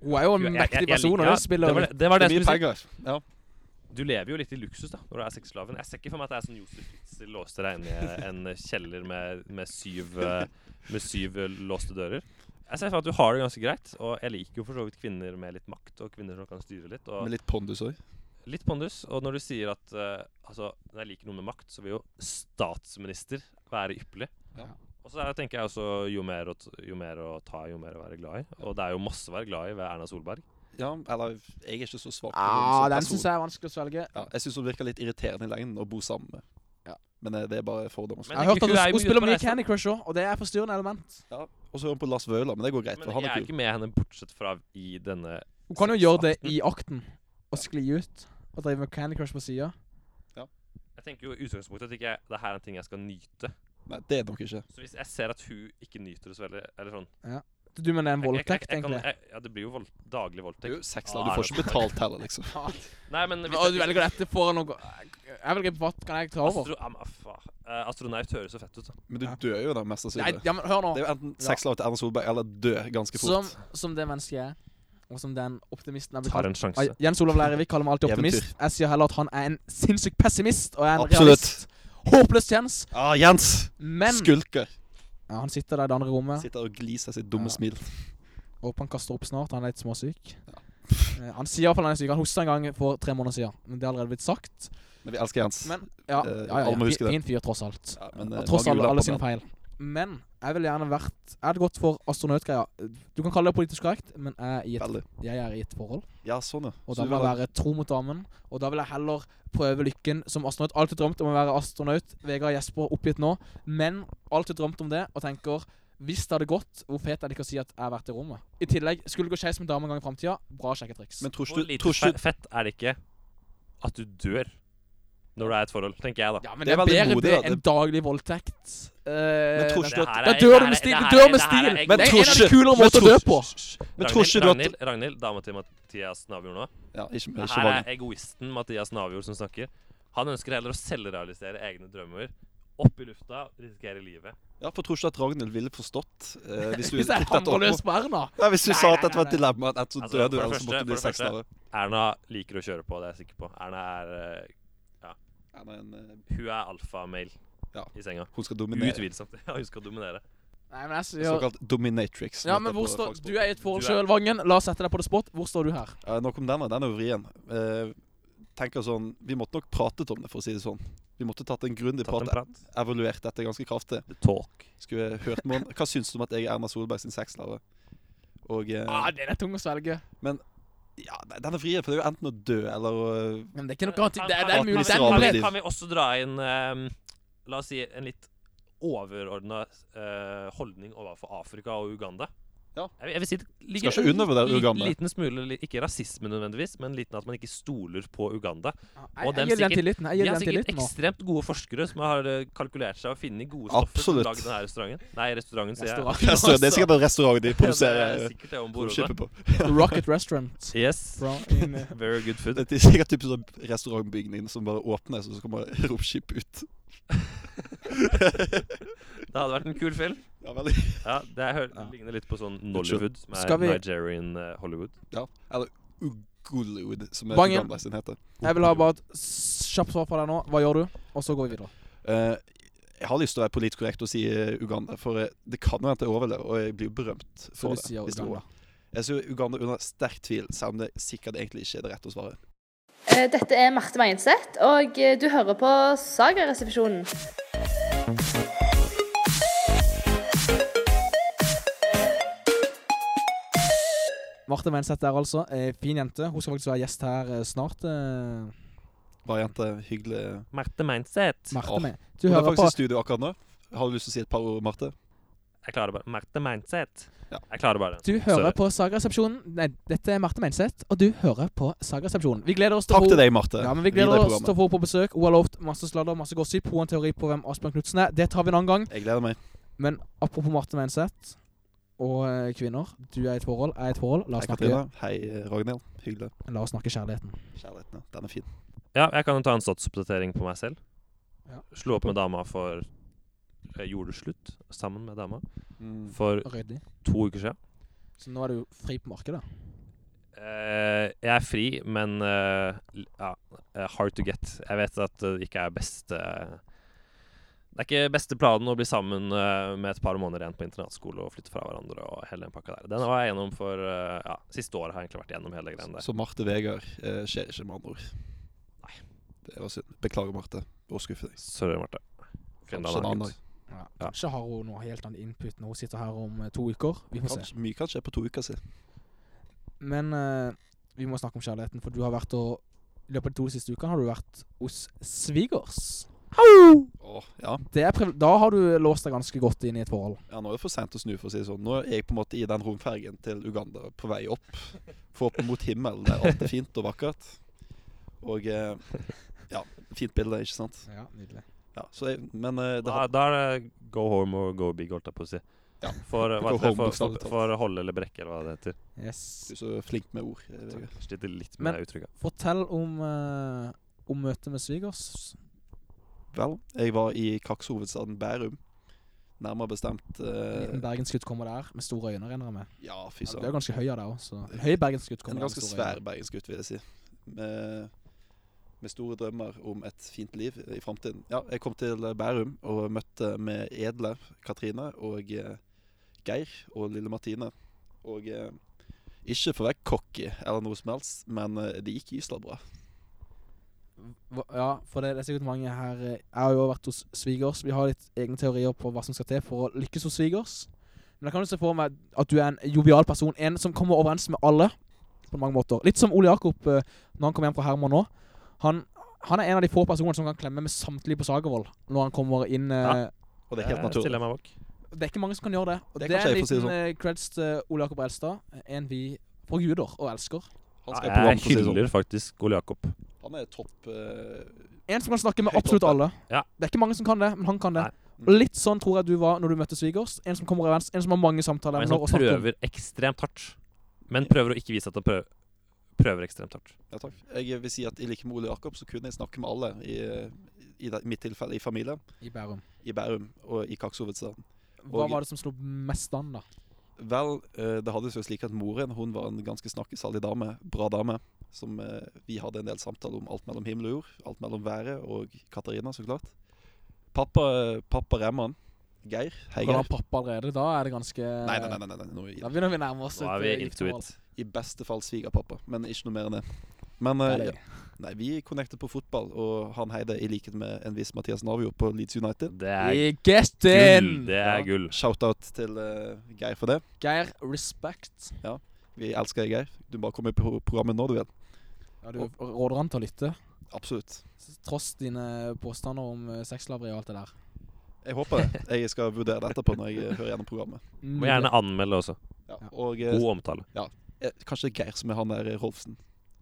Speaker 4: hun er jo en
Speaker 3: Jeg- jeg-
Speaker 4: mektig
Speaker 3: jeg-
Speaker 4: person. og
Speaker 3: ja,
Speaker 4: hun spiller
Speaker 3: det var det, det, var det
Speaker 2: Det
Speaker 3: jeg
Speaker 2: er mye
Speaker 3: skulle si.
Speaker 2: penger. Ja.
Speaker 3: Du lever jo litt i luksus da når du er sexslaven. Jeg ser ikke for meg at det er sånn Josef Fritzel låste deg inne i en kjeller med, med, syv, eh, med syv låste dører. Jeg ser for meg at du har det ganske greit, og jeg liker jo for så vidt kvinner med litt makt, og kvinner som kan styre litt. Og
Speaker 2: Med litt pondus òg.
Speaker 3: Litt pondus. Og når du sier at eh, altså, når jeg liker noe med makt, så vil jo statsminister være ypperlig.
Speaker 2: Ja.
Speaker 3: Og så er- tenker jeg også jo mer, å, t- jo mer å ta, jo mer å være glad i. Og det er jo masse å være glad i ved Erna Solberg.
Speaker 2: Ja, eller jeg er ikke så svak. for henne
Speaker 4: Ja,
Speaker 2: som
Speaker 4: Ah, den
Speaker 2: person.
Speaker 4: syns jeg er vanskelig å svelge.
Speaker 2: Ja, jeg syns hun virker litt irriterende i lengden å bo sammen med.
Speaker 4: Ja.
Speaker 2: Men eh, det er bare fordommer.
Speaker 3: Men
Speaker 4: Jeg har
Speaker 3: det er
Speaker 4: hørt at
Speaker 3: ikke-
Speaker 4: hun,
Speaker 3: hun er
Speaker 4: hun
Speaker 3: mye
Speaker 4: spiller
Speaker 3: ute på
Speaker 4: mye
Speaker 3: reise.
Speaker 4: Candy Crush òg, og det er forstyrrende element.
Speaker 2: Og så er hun på Las Vøla, men det går greit,
Speaker 3: Men
Speaker 2: for han er
Speaker 3: jeg er
Speaker 2: kul.
Speaker 3: ikke med henne bortsett fra i denne
Speaker 4: Hun kan jo gjøre det i akten, og skli ut. Og drive med Candy Crush på sida.
Speaker 3: Jeg tenker jo i utgangspunktet at ikke jeg, det her er en ting jeg skal nyte.
Speaker 2: Nei, det er det nok ikke.
Speaker 3: Så hvis jeg ser at hun ikke nyter det så veldig eller sånn jeg-
Speaker 4: Du mener det er en
Speaker 3: jeg- jeg-
Speaker 4: voldtekt,
Speaker 3: jeg kan-
Speaker 4: egentlig?
Speaker 3: jeg- Ja, det blir jo vold, daglig
Speaker 2: Det er jo
Speaker 3: voldtekt.
Speaker 2: sexslav. Du får ikke betalt heller, liksom.
Speaker 3: Nei, men hvis
Speaker 4: Å, du
Speaker 3: jeg-
Speaker 4: velger dette foran noe Jeg vil gripe fatt. Kan jeg ta over?
Speaker 3: Astro, ja, men faen. Eh, astronaut høres så fett ut. da.
Speaker 2: Men du
Speaker 4: Ja.
Speaker 2: dør jo da, mest
Speaker 4: Nei,
Speaker 2: sannsynlig.
Speaker 4: ja, men hør nå.
Speaker 2: Det er jo enten sexslav til Erna Solberg eller dø ganske
Speaker 4: Som,
Speaker 2: fort.
Speaker 4: som det mennesket jeg er, og som den optimisten jeg blir
Speaker 3: Tar
Speaker 4: kalt
Speaker 3: en
Speaker 4: Ai,
Speaker 3: sjanse.
Speaker 4: Jens Olav Lærevik kaller meg alltid optimist. Jeg sier heller at han er en sinnssyk pessimist, og jeg er en
Speaker 2: Absolutt.
Speaker 4: realist. Håpløs Jens.
Speaker 2: Ah, Jens!
Speaker 4: Men
Speaker 2: Skulker.
Speaker 4: ja, han sitter der i det andre rommet.
Speaker 2: Sitter og gliser sitt dumme
Speaker 4: Ja.
Speaker 2: smil.
Speaker 4: Jeg Håper han kaster opp snart. Han er litt småsyk. Eh, Han sier i hvert fall han er syk. Han hosta en gang for tre måneder siden. Men det har allerede blitt sagt.
Speaker 2: Men vi elsker Jens.
Speaker 4: Men ja,
Speaker 2: Eh,
Speaker 4: ja, ja, ja.
Speaker 2: alle må huske
Speaker 4: Fin-
Speaker 2: det.
Speaker 4: fin fyr, tross alt.
Speaker 2: Ja, men, eh,
Speaker 4: og tross
Speaker 2: mange
Speaker 4: alle,
Speaker 2: lapper
Speaker 4: alle
Speaker 2: på
Speaker 4: sine
Speaker 2: den.
Speaker 4: feil. Men jeg ville gjerne vært Jeg hadde gått for astronautgreia. Du kan kalle det politisk korrekt, men jeg er i et,
Speaker 2: Veldig.
Speaker 4: jeg er i et forhold.
Speaker 2: Ja, sånn, ja.
Speaker 4: Og
Speaker 2: Så
Speaker 4: da
Speaker 2: du vil
Speaker 4: må jeg
Speaker 2: ha-
Speaker 4: være tro mot damen. Og da vil jeg heller prøve lykken som astronaut. Alltid drømt om å være astronaut. Vegard Jesper oppgitt nå. Men alltid drømt om det, og tenker hvis det hadde gått, hvor fet er det ikke å si at jeg har vært i rommet? I tillegg, skulle det gå skeis med dame en gang i framtida, bra sjekketriks.
Speaker 2: Men tror
Speaker 3: Hvor
Speaker 2: ikke du
Speaker 3: lite
Speaker 2: tror ikke-
Speaker 3: fe- fett er det ikke at du dør når du er i et forhold, tenker jeg, da.
Speaker 4: ja,
Speaker 2: det
Speaker 4: men
Speaker 2: er
Speaker 4: det er
Speaker 2: veldig
Speaker 4: bedre
Speaker 2: modig,
Speaker 4: det
Speaker 2: da.
Speaker 4: enn
Speaker 2: Det-
Speaker 4: daglig voldtekt.
Speaker 2: tror
Speaker 4: Eh, den-
Speaker 2: ikke du at-
Speaker 3: her
Speaker 4: Da dør du med
Speaker 3: det
Speaker 4: stil!
Speaker 3: her er-
Speaker 4: Du dør med
Speaker 3: det her
Speaker 4: stil!
Speaker 3: er-
Speaker 4: Det
Speaker 2: tror
Speaker 4: er en av de
Speaker 2: ikke-
Speaker 4: kulere
Speaker 2: men
Speaker 4: måter å
Speaker 2: tror
Speaker 4: dø
Speaker 2: ikke-
Speaker 4: på!
Speaker 2: Men tror
Speaker 3: Ragnhild,
Speaker 2: ikke du at
Speaker 3: Ragnhild, Ragnhild, dama til Mathias Navjord nå.
Speaker 2: Ja, ikke,
Speaker 3: Det
Speaker 2: ikke
Speaker 3: her
Speaker 2: vanlig.
Speaker 3: er egoisten Mathias Navjord som snakker. Han ønsker heller å selvrealisere egne drømmer. Opp i lufta, risikere livet.
Speaker 2: Ja, for tror ikke at Ragnhild ville forstått eh, hvis du
Speaker 4: Hvis jeg
Speaker 2: tok dette
Speaker 4: hamrer
Speaker 2: opp nå?
Speaker 4: løs på Erna
Speaker 2: Nei, hvis du
Speaker 4: Nei,
Speaker 2: sa
Speaker 4: nei,
Speaker 2: at dette var
Speaker 4: nei,
Speaker 2: et dilemma, at så
Speaker 3: Altså,
Speaker 2: døde
Speaker 3: for
Speaker 2: du,
Speaker 3: det
Speaker 2: eller så
Speaker 3: første-
Speaker 2: måtte du bli
Speaker 3: for det første-
Speaker 2: sexslave.
Speaker 3: Erna liker å kjøre på, det er jeg sikker på. Erna er eh,
Speaker 2: Ja, men, eh,
Speaker 3: Hun er alfamale
Speaker 2: Ja.
Speaker 3: i senga.
Speaker 2: Hun skal dominere.
Speaker 3: Utvilsomt. Ja, hun skal dominere.
Speaker 4: Nei, men jeg sier
Speaker 2: Såkalt dominatrix. som
Speaker 4: Ja,
Speaker 2: heter
Speaker 4: men
Speaker 2: på
Speaker 4: hvor står
Speaker 2: fagspråk.
Speaker 4: Du er i et forhold
Speaker 3: Du er-
Speaker 4: sjøl, Vangen. La oss sette deg på det spot. Hvor står du her?
Speaker 2: Ja, nok om denne. Den er jo vrien. Eh, tenker sånn, Vi måtte nok pratet om det, for å si det sånn. Vi måtte tatt en grundig
Speaker 3: Tatt en
Speaker 2: prat.
Speaker 3: prat.
Speaker 2: Evaluert dette ganske kraftig.
Speaker 3: The talk.
Speaker 2: Skulle hørt noen Hva syns du om at jeg er Erna Solberg sin sexslave? Og eh,
Speaker 4: Ah, den er tung å svelge.
Speaker 2: ja, nei, Den er vrien, for det er jo enten å dø eller å
Speaker 4: Men det er ikke noe annet.
Speaker 3: Kan-
Speaker 4: Det er,
Speaker 3: kan-
Speaker 4: det er en mulighet. Det er en
Speaker 2: Miserable
Speaker 4: mulighet.
Speaker 2: liv.
Speaker 3: Kan vi også dra inn ehm, La oss si en litt overordna holdning overfor Afrika og Uganda?
Speaker 2: Ja.
Speaker 3: Jeg, vil- jeg vil si det ligger
Speaker 2: Skal ikke undervurdere
Speaker 3: en
Speaker 2: Uganda.
Speaker 3: liten smule li- Ikke rasisme nødvendigvis, men liten at man ikke stoler på Uganda.
Speaker 4: Jeg-
Speaker 3: Og
Speaker 4: Jeg
Speaker 3: dem
Speaker 4: gir den
Speaker 3: sikkert-
Speaker 4: tilliten. Jeg
Speaker 3: De
Speaker 4: gir
Speaker 3: har
Speaker 4: den
Speaker 3: sikkert
Speaker 4: tilliten nå.
Speaker 3: ekstremt gode forskere som har eh, kalkulert seg å finne gode stoffer
Speaker 2: Absolutt.
Speaker 3: til å lage denne restauranten. Nei, restauranten, sier jeg.
Speaker 4: Restaurant,
Speaker 2: Det er
Speaker 4: altså.
Speaker 2: sikkert en restaurant de
Speaker 3: Det
Speaker 2: produserer
Speaker 3: er sikkert det om bord også.
Speaker 2: romskipet på.
Speaker 4: Rocket Restaurant.
Speaker 3: Yes.
Speaker 4: Bra. In, eh,
Speaker 3: Very good food.
Speaker 2: Det er sikkert typisk sånn restaurantbygning som bare åpner, så kommer romskip ut.
Speaker 3: Det hadde vært en kul film.
Speaker 2: Ja, veldig.
Speaker 3: Ja, Det hø-
Speaker 2: Ja.
Speaker 3: ligner litt på sånn Nollywood, som
Speaker 4: Skal
Speaker 3: er
Speaker 4: vi-
Speaker 3: Nigerian eh, Hollywood.
Speaker 2: Ja. Eller Ugulud, som er
Speaker 4: Bangen.
Speaker 2: Uganda sin heter.
Speaker 4: Jeg vil ha bare et s- kjapt svar fra deg nå. Hva gjør du? Og så går vi videre.
Speaker 2: Eh, jeg har lyst til å være politisk korrekt og si eh, Uganda, for eh, det kan jo hende jeg overlever, og jeg blir jo berømt
Speaker 4: Så
Speaker 2: for
Speaker 4: du
Speaker 2: det.
Speaker 4: sier
Speaker 2: hvis det
Speaker 4: Uganda.
Speaker 2: går. Jeg ser Uganda under sterk tvil, selv om det sikkert egentlig ikke er det rette å svare.
Speaker 8: Eh, Dette er Marte Meinseth, og eh, du hører på Sagaresepsjonen.
Speaker 4: Marte Meinseth der, altså. Eh, Fin jente. Hun skal faktisk være gjest her eh, snart. eh,
Speaker 2: Var jente hyggelig
Speaker 3: Marte Meinseth.
Speaker 4: Marte
Speaker 2: Åh.
Speaker 4: med. Du
Speaker 2: Hun er
Speaker 4: hører
Speaker 2: faktisk
Speaker 4: på
Speaker 2: i studio akkurat nå. Har du lyst til å si et par ord, Marte?
Speaker 3: Jeg klarer bare Marte Meinseth.
Speaker 2: Ja.
Speaker 3: Jeg klarer bare den.
Speaker 4: du hører på Sagaresepsjonen. Nei, dette er Marte Meinseth, og du hører på Sagaresepsjonen. Vi gleder oss til
Speaker 2: Takk
Speaker 4: hun-
Speaker 2: til deg, Marte.
Speaker 4: Ja, men Vi
Speaker 2: Videre i
Speaker 4: gleder oss
Speaker 2: programmet.
Speaker 4: til å få henne på besøk. Hun har lovt masse sladder, masse gossip. Hun har en teori på hvem Asbjørn Knutsen er. Det tar vi en annen gang.
Speaker 2: Jeg gleder meg.
Speaker 4: Men apropos Marte Meinseth og eh, kvinner. Du er i et forhold, jeg er i et forhold. La
Speaker 2: Hei,
Speaker 4: oss snakke,
Speaker 2: Katrine. Hei, Ragnhild. Hyggelig.
Speaker 4: la oss snakke kjærligheten.
Speaker 2: Kjærligheten, ja. Den er fin.
Speaker 3: Ja, jeg kan jo ta en statusoppdatering på meg selv.
Speaker 4: Ja.
Speaker 3: Slo opp med dama for Jeg gjorde slutt sammen med dama
Speaker 2: Mm.
Speaker 3: for
Speaker 4: Ryddig.
Speaker 3: to uker siden.
Speaker 4: Så nå er du fri på markedet.
Speaker 3: Eh, jeg er fri, men eh, l- ja, eh, hard to get. Jeg vet at det ikke er beste Det er ikke beste planen å bli sammen eh, med et par måneder igjen på internatskole og flytte fra hverandre og hele den pakka der. Den var jeg gjennom for eh, ja, Siste året har jeg egentlig vært gjennom hele greien der.
Speaker 2: Mm. Så Marte Vegard eh, skjer ikke, med andre ord. Nei. Det var synd. Beklager, Marte. Å skuffe deg.
Speaker 3: Sorry, Marte. Kanskje en
Speaker 2: Kanskje en
Speaker 3: annen
Speaker 2: annen
Speaker 3: gutt.
Speaker 4: Ja. Kanskje har hun noe helt annet input når hun sitter her om eh, to uker. Vi får se.
Speaker 2: Kanskje, mye kan skje på to uker siden.
Speaker 4: Men eh, vi må snakke om kjærligheten, for du har vært og I løpet av de to siste ukene har du vært hos svigers.
Speaker 2: Åh, ja.
Speaker 4: Det er priv da har du låst deg ganske godt inn i et forhold.
Speaker 2: ja, nå er det for sent å snu, for å si det sånn. Nå er jeg på en måte i den romfergen til Uganda på vei opp. Forhåpentlig mot himmelen, der alt er fint og vakkert. Og eh, ja, fint bilde, ikke sant?
Speaker 4: Ja, nydelig.
Speaker 2: Ja, så jeg, men eh, det
Speaker 3: Da,
Speaker 2: har,
Speaker 3: da er det go home og go big, holdt jeg på å si.
Speaker 2: Ja.
Speaker 3: For, eh, hva
Speaker 2: Go
Speaker 3: heter det?
Speaker 2: home,
Speaker 3: for,
Speaker 2: bokstavelig
Speaker 3: for,
Speaker 2: talt.
Speaker 3: for holde eller brekke, eller hva det heter.
Speaker 4: Yes.
Speaker 2: du er så flink med ord. eh, Vegard.
Speaker 3: Jeg Sliter litt
Speaker 4: Men-
Speaker 3: med det uttrykket.
Speaker 4: Fortell om, eh, om møtet med svigers.
Speaker 2: Vel, jeg var i kakshovedstaden Bærum. Nærmere bestemt
Speaker 4: En
Speaker 2: eh,
Speaker 4: liten bergensgutt kommer der med store øyne, regner jeg med.
Speaker 2: Ja, fy
Speaker 4: Ja, du er
Speaker 2: søren.
Speaker 4: ganske høy av deg òg, så En høy bergensgutt
Speaker 2: En
Speaker 4: kommer der
Speaker 2: ganske
Speaker 4: med store
Speaker 2: svær
Speaker 4: øyne.
Speaker 2: bergensgutt, vil jeg si. Med, med store drømmer om et fint liv i framtiden. Ja, jeg kom til Bærum og møtte med edle Katrine og eh, Geir og lille Martine. Og eh, ikke for å være cocky eller noe som helst, men eh, det gikk gysla bra.
Speaker 4: Hva- Ja, for det, det er sikkert mange her eh, Jeg har jo vært hos svigers. Vi har litt egne teorier på hva som skal til for å lykkes hos svigers. Men jeg kan jo se for meg at du er en jovial person. En som kommer overens med alle på mange måter. Litt som Ole Jakob eh, når han kommer hjem fra Herman nå. Han, han er en av de få personene som kan klemme med samtlige på Sagervold når han kommer inn. eh,
Speaker 2: Og det er helt naturlig.
Speaker 3: Stiller jeg meg bak.
Speaker 4: Det er ikke mange som kan gjøre det. Og
Speaker 2: Det
Speaker 4: det,
Speaker 2: kan skje,
Speaker 4: er en
Speaker 2: for å si sånn.
Speaker 4: liten
Speaker 2: det
Speaker 4: eh, creds til Ole Jakob Elstad. En vi forguder og elsker.
Speaker 2: Han skal i
Speaker 3: Jeg
Speaker 2: programmet, for å si det sånn.
Speaker 3: hyller faktisk Ole Jakob.
Speaker 2: Han er topp eh,
Speaker 4: En som kan snakke med
Speaker 2: Høyt
Speaker 4: absolutt
Speaker 2: oppe.
Speaker 4: alle.
Speaker 3: Ja.
Speaker 4: Det er ikke mange som kan det, men han kan det.
Speaker 3: Nei.
Speaker 4: Og Litt sånn tror jeg du var når du møtte svigers. En som kommer overens, en som har mange samtaler.
Speaker 3: Men han sånn prøver ekstremt hardt. Men prøver å ikke vise at han prøver, prøver ekstremt hardt.
Speaker 2: Ja, takk. Jeg vil si at i like med Ole Jakob så kunne jeg snakke med alle, i, eh, i det- mitt tilfelle i familien,
Speaker 4: I Bærum.
Speaker 2: i Bærum og i Kakshovedstaden.
Speaker 4: Hva
Speaker 2: Og-
Speaker 4: var det som slo mest an, da?
Speaker 2: Vel, eh, det hadde seg slik at moren hun var en ganske snakkesalig dame, bra dame, som eh, vi hadde en del samtaler om alt mellom himmel og jord, alt mellom været og Katarina, så klart. Pappa, pappa Remman, Geir, hei
Speaker 4: Når han har
Speaker 2: Geir.
Speaker 4: pappa allerede, da er det ganske
Speaker 2: Nei, nei, nei, nei, nei, nei, nå
Speaker 4: Da
Speaker 2: i,
Speaker 4: begynner vi å nærme oss
Speaker 3: Nå er
Speaker 4: et
Speaker 3: vi
Speaker 4: eh,
Speaker 3: into
Speaker 4: giftermål.
Speaker 3: it.
Speaker 2: i beste fall svigerpappa, men ikke noe mer enn det. Men eh,
Speaker 4: Det er
Speaker 2: ja.
Speaker 4: det.
Speaker 2: nei, vi connectet på fotball, og han heide i likhet med en viss Mathias Navio på Leeds United.
Speaker 3: Det er
Speaker 4: I Get
Speaker 3: gull.
Speaker 4: in!
Speaker 3: Det
Speaker 2: Ja.
Speaker 3: er gull.
Speaker 2: Shoutout til eh, Geir for det.
Speaker 4: Geir, respect.
Speaker 2: Vi elsker deg, Geir. Du bare kommer på programmet når du vil.
Speaker 4: Ja, du råder han til å lytte,
Speaker 2: Absolutt.
Speaker 4: tross dine påstander om eh, sexslaveri og alt det der.
Speaker 2: Jeg håper det. Jeg skal vurdere det etterpå når jeg eh, hører gjennom programmet.
Speaker 3: Må gjerne anmelde også.
Speaker 2: Ja,
Speaker 4: Ja.
Speaker 2: og eh,
Speaker 3: God omtale.
Speaker 2: eh, kanskje Geir som er han der eh, Rolfsen.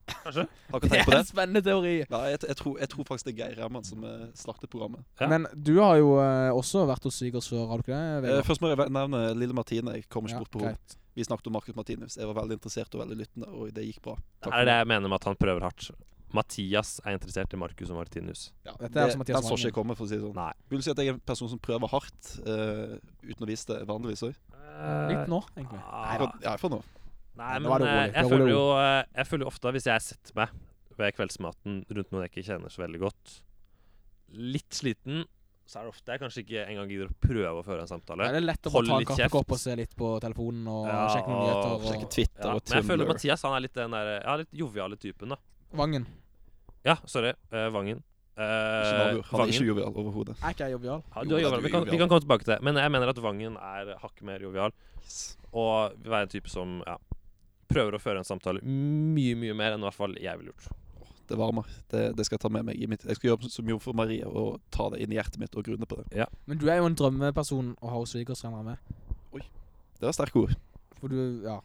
Speaker 3: Kanskje.
Speaker 2: Har ikke
Speaker 4: Det
Speaker 2: tenkt
Speaker 4: er
Speaker 2: på
Speaker 4: en
Speaker 2: det?
Speaker 4: spennende teori.
Speaker 2: Nei, jeg, jeg, tror, jeg tror faktisk det er Geir Remman som eh, startet programmet.
Speaker 3: Ja.
Speaker 4: Men du har jo eh, også vært hos svigers før, har du ikke
Speaker 2: Eh,
Speaker 4: det? Vegard?
Speaker 2: først må jeg ve- nevne lille Martine. Jeg kommer ikke bort på henne.
Speaker 4: greit.
Speaker 2: Vi snakket om Markus Martinus. Jeg var veldig interessert og veldig lyttende, og det gikk bra. Takk
Speaker 3: Her
Speaker 2: for
Speaker 3: er det jeg mener med at han prøver hardt. Mathias er interessert i Marcus og Martinus.
Speaker 2: Ja,
Speaker 4: Dette er
Speaker 2: det,
Speaker 4: altså Mathias
Speaker 2: den så ikke
Speaker 4: Wangen.
Speaker 2: jeg komme, for å si det sånn.
Speaker 3: Nei.
Speaker 2: Vil du si at jeg er en person som prøver hardt, eh, uten å vise det vanligvis òg?
Speaker 4: Litt nå, egentlig.
Speaker 3: Eh, Ah.
Speaker 2: Ja, for nå.
Speaker 3: Nei, men
Speaker 4: Nå er
Speaker 3: eh,
Speaker 4: det rolig.
Speaker 3: jeg
Speaker 4: Det er rolig
Speaker 3: føler jo eh, Jeg føler jo ofte at hvis jeg setter meg ved kveldsmaten rundt noen jeg ikke kjenner så veldig godt, litt sliten, så er det ofte jeg kanskje ikke engang gidder å prøve å føre en samtale.
Speaker 4: Ja, det er lett å
Speaker 3: Hold
Speaker 4: bare ta en
Speaker 3: litt kjeft.
Speaker 4: kaffekopp og se litt på telefonen og
Speaker 3: Ja,
Speaker 4: sjekke noen
Speaker 3: og
Speaker 4: nyheter.
Speaker 2: Sjekke
Speaker 4: Og...
Speaker 2: Twitter
Speaker 3: Ja,
Speaker 2: og
Speaker 3: men jeg føler
Speaker 2: Tumblr.
Speaker 3: Mathias han er litt den der Ja, litt joviale typen, da.
Speaker 4: Vangen.
Speaker 3: Ja, sorry. eh, Vangen. Eh,
Speaker 2: Ikke Navio. Han er
Speaker 3: Vangen.
Speaker 2: ikke jovial overhodet.
Speaker 4: Er ikke jeg jovial?
Speaker 2: Jo, da,
Speaker 3: Ja, du er jovial.
Speaker 2: du er
Speaker 3: Vi, kan, vi
Speaker 2: jovial.
Speaker 3: kan komme tilbake til det. Men jeg mener at Vangen er hakket mer jovial. Og vil være en type som ja, prøver å føre en samtale mye, mye mer enn i hvert fall jeg ville gjort.
Speaker 2: Det varmer. Det, det skal jeg ta med meg. i mitt Jeg skal gjøre som jomfru Maria og ta det inn i hjertet mitt og grunne på det.
Speaker 4: Men du er jo en drømmeperson å ha hos svigers, regner jeg med.
Speaker 2: Det var sterke ord.
Speaker 4: For du Ja.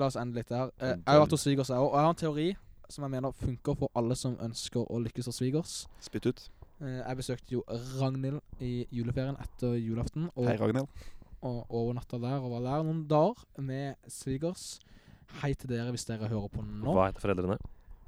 Speaker 4: La oss ende litt der. Eh,
Speaker 2: En
Speaker 4: jeg har vært hos svigers, jeg òg. Og jeg har en teori som jeg mener funker for alle som ønsker å lykkes hos svigers.
Speaker 2: Spytt ut.
Speaker 4: Eh, Jeg besøkte jo Ragnhild i juleferien etter julaften. Og
Speaker 2: Hei, Ragnhild.
Speaker 4: og overnatta der og var der noen dager med svigers. Hei til dere hvis dere hører på nå.
Speaker 3: Hva heter foreldrene?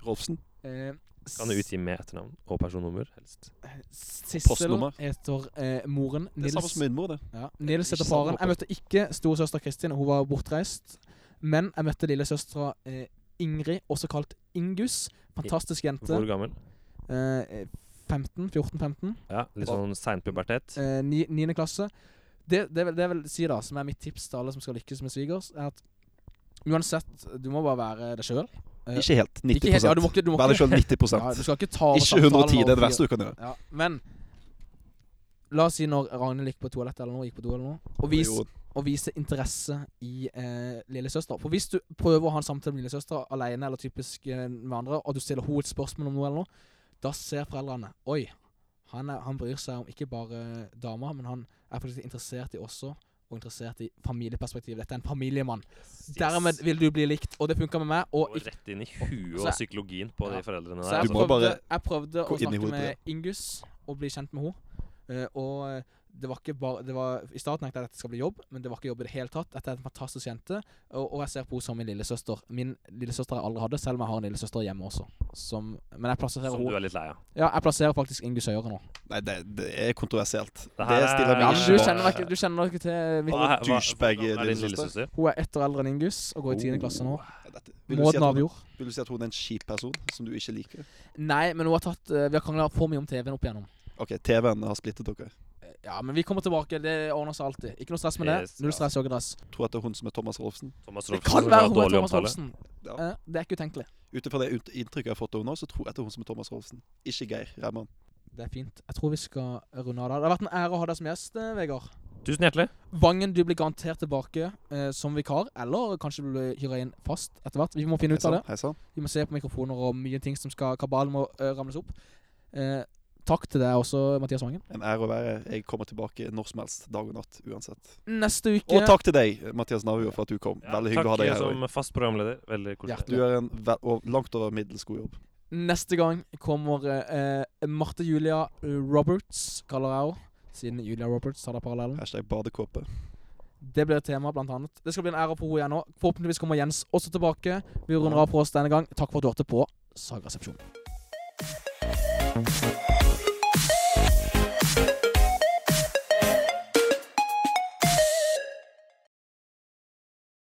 Speaker 2: Rolfsen.
Speaker 4: Eh,
Speaker 3: Kan du utgi med etternavn og personnummer, helst?
Speaker 4: Sissel
Speaker 2: postnummer?
Speaker 4: heter eh, moren.
Speaker 2: Det er samme
Speaker 4: Nils,
Speaker 2: som min mor, det.
Speaker 4: ja, Nils
Speaker 2: Ikke
Speaker 4: heter
Speaker 2: samme
Speaker 4: faren.
Speaker 2: håper.
Speaker 4: Jeg møtte ikke storesøster Kristin, hun var bortreist. Men jeg møtte lillesøstera eh, Ingrid, også kalt Ingus. Fantastisk jente.
Speaker 3: Hvor gammel?
Speaker 4: Eh, 15, 14-15.
Speaker 3: Ja, Litt sånn seinpubertet.
Speaker 4: Eh, ni- niende klasse. Det, det, vil, det vil si, da, som er mitt tips til alle som skal lykkes med svigers, er at uansett, du må bare være deg sjøl. Eh,
Speaker 2: Ikke helt. 90
Speaker 4: Ikke helt, ja, du må ikke, du må
Speaker 2: Vær deg
Speaker 4: ikke,
Speaker 2: sjøl 90
Speaker 4: ja, du skal ikke ta over
Speaker 2: Ikke
Speaker 4: samtalen
Speaker 2: 110, det er
Speaker 4: og
Speaker 2: det verste du kan gjøre.
Speaker 4: Ja, men La oss si når Ragnhild gikk på toalettet eller noe, gikk på do eller noe, og, vis,
Speaker 2: Jo,
Speaker 4: og vise interesse i eh, lillesøster. For hvis du prøver å ha en samtale med lillesøster alene eller typisk eh, med andre, og du stiller henne et spørsmål om noe eller noe, da ser foreldrene Oi, han, er, han bryr seg om ikke bare dama, men han er faktisk interessert i også, og interessert i familieperspektiv. Dette er en familiemann. Dermed vil du bli likt, og det funka med meg. Og
Speaker 3: Og rett inn i huet
Speaker 4: så
Speaker 3: og
Speaker 4: er-
Speaker 3: psykologien på
Speaker 4: Ja.
Speaker 3: de foreldrene
Speaker 4: Så
Speaker 3: der.
Speaker 4: jeg
Speaker 2: Du må
Speaker 3: Altså.
Speaker 4: prøvde,
Speaker 2: bare
Speaker 4: jeg
Speaker 2: gå
Speaker 4: prøvde å
Speaker 2: inn i
Speaker 4: snakke
Speaker 2: hodet på
Speaker 4: med Ingus og bli kjent med henne. Eh, og eh, det var ikke bare det var, I starten tenkte jeg at dette skal bli jobb, men det var ikke jobb i det hele tatt. Dette er en fantastisk jente, og, og jeg ser på henne som min lillesøster. Min lillesøster jeg aldri hadde, selv om jeg har en lillesøster hjemme også. Som, men jeg plasserer,
Speaker 3: Som du
Speaker 4: henne-
Speaker 3: er litt lei av.
Speaker 4: ja, jeg plasserer faktisk Ingus høyere nå.
Speaker 2: Nei, det, det er kontroversielt. Det,
Speaker 3: Det her
Speaker 2: stiller
Speaker 3: Ja,
Speaker 4: Ja,
Speaker 2: meg
Speaker 3: men
Speaker 4: men
Speaker 3: du
Speaker 4: du
Speaker 3: eh,
Speaker 2: ikke
Speaker 3: kjenner
Speaker 4: kjenner
Speaker 3: meg
Speaker 2: bak.
Speaker 3: ikke-
Speaker 4: deg ikke til
Speaker 2: Hva er douchebag
Speaker 3: hvor gammel er din
Speaker 2: lillesøster?
Speaker 3: lillesøster?
Speaker 4: Hun er ett år eldre enn Ingus og går i tiende klasse nå.
Speaker 2: Dette- Vil du, si
Speaker 4: Maud
Speaker 2: at hun,
Speaker 4: Navjord.
Speaker 2: vil du si at hun er en kjip person som du ikke liker?
Speaker 4: Nei, men hun har tatt eh, Vi har krangla for mye om TV-en opp igjennom.
Speaker 2: OK, TV-en har splittet dere.
Speaker 4: Ja, men vi kommer tilbake. Det ordner seg alltid. Ikke noe stress med det.
Speaker 3: Yes,
Speaker 4: Null
Speaker 3: ja.
Speaker 4: stress, joggedress.
Speaker 2: Tror at det er hun som er Thomas Rolfsen.
Speaker 3: Thomas
Speaker 4: Det
Speaker 3: Rolfsen,
Speaker 4: kan
Speaker 3: som
Speaker 4: være
Speaker 3: har
Speaker 4: hun er
Speaker 3: dårlig
Speaker 4: Thomas
Speaker 3: omtale.
Speaker 4: Rolfsen.
Speaker 2: Ja.
Speaker 4: Eh, Det er ikke utenkelig.
Speaker 2: Ut ifra det ut- inntrykket jeg har fått av henne nå, så tror jeg at det er hun som er Thomas Rolfsen. Ikke Geir Reimann.
Speaker 4: Det er fint. Jeg tror vi skal runde av. da. Det har vært en ære å ha deg som gjest, eh, Vegard.
Speaker 3: Tusen hjertelig.
Speaker 4: Vangen, du blir garantert tilbake eh, som vikar, eller kanskje du blir hyra inn fast etter hvert. Vi må finne
Speaker 2: Hei
Speaker 4: ut av
Speaker 2: sann.
Speaker 4: det.
Speaker 2: hei sann.
Speaker 4: Vi må se på mikrofoner og mye ting som skal Kabalen må eh, ramles opp. Eh, takk til deg også, Mathias Vangen.
Speaker 2: En ære å være. Jeg kommer tilbake når som helst, dag og natt, uansett.
Speaker 4: Neste uke
Speaker 2: Og takk til deg, Mathias Navio, for at du kom.
Speaker 3: Ja,
Speaker 2: Veldig hyggelig å ha deg
Speaker 3: Takk
Speaker 2: her.
Speaker 3: som fast programleder. Veldig
Speaker 4: Hjertelig.
Speaker 3: koselig.
Speaker 2: Du gjør en ve og langt over middels god jobb.
Speaker 4: Neste gang kommer eh, eh, Marte Julia Roberts, kaller jeg henne. Siden Julia Roberts tar deg
Speaker 3: Mm.
Speaker 4: parallellen.
Speaker 2: Hashtag badekåpe.
Speaker 4: Det blir et tema, blant annet. Det skal bli en ære for henne igjen nå. Forhåpentligvis kommer Jens også tilbake. Vi runder av for oss denne gang. Takk for at du hørte på Sagresepsjonen.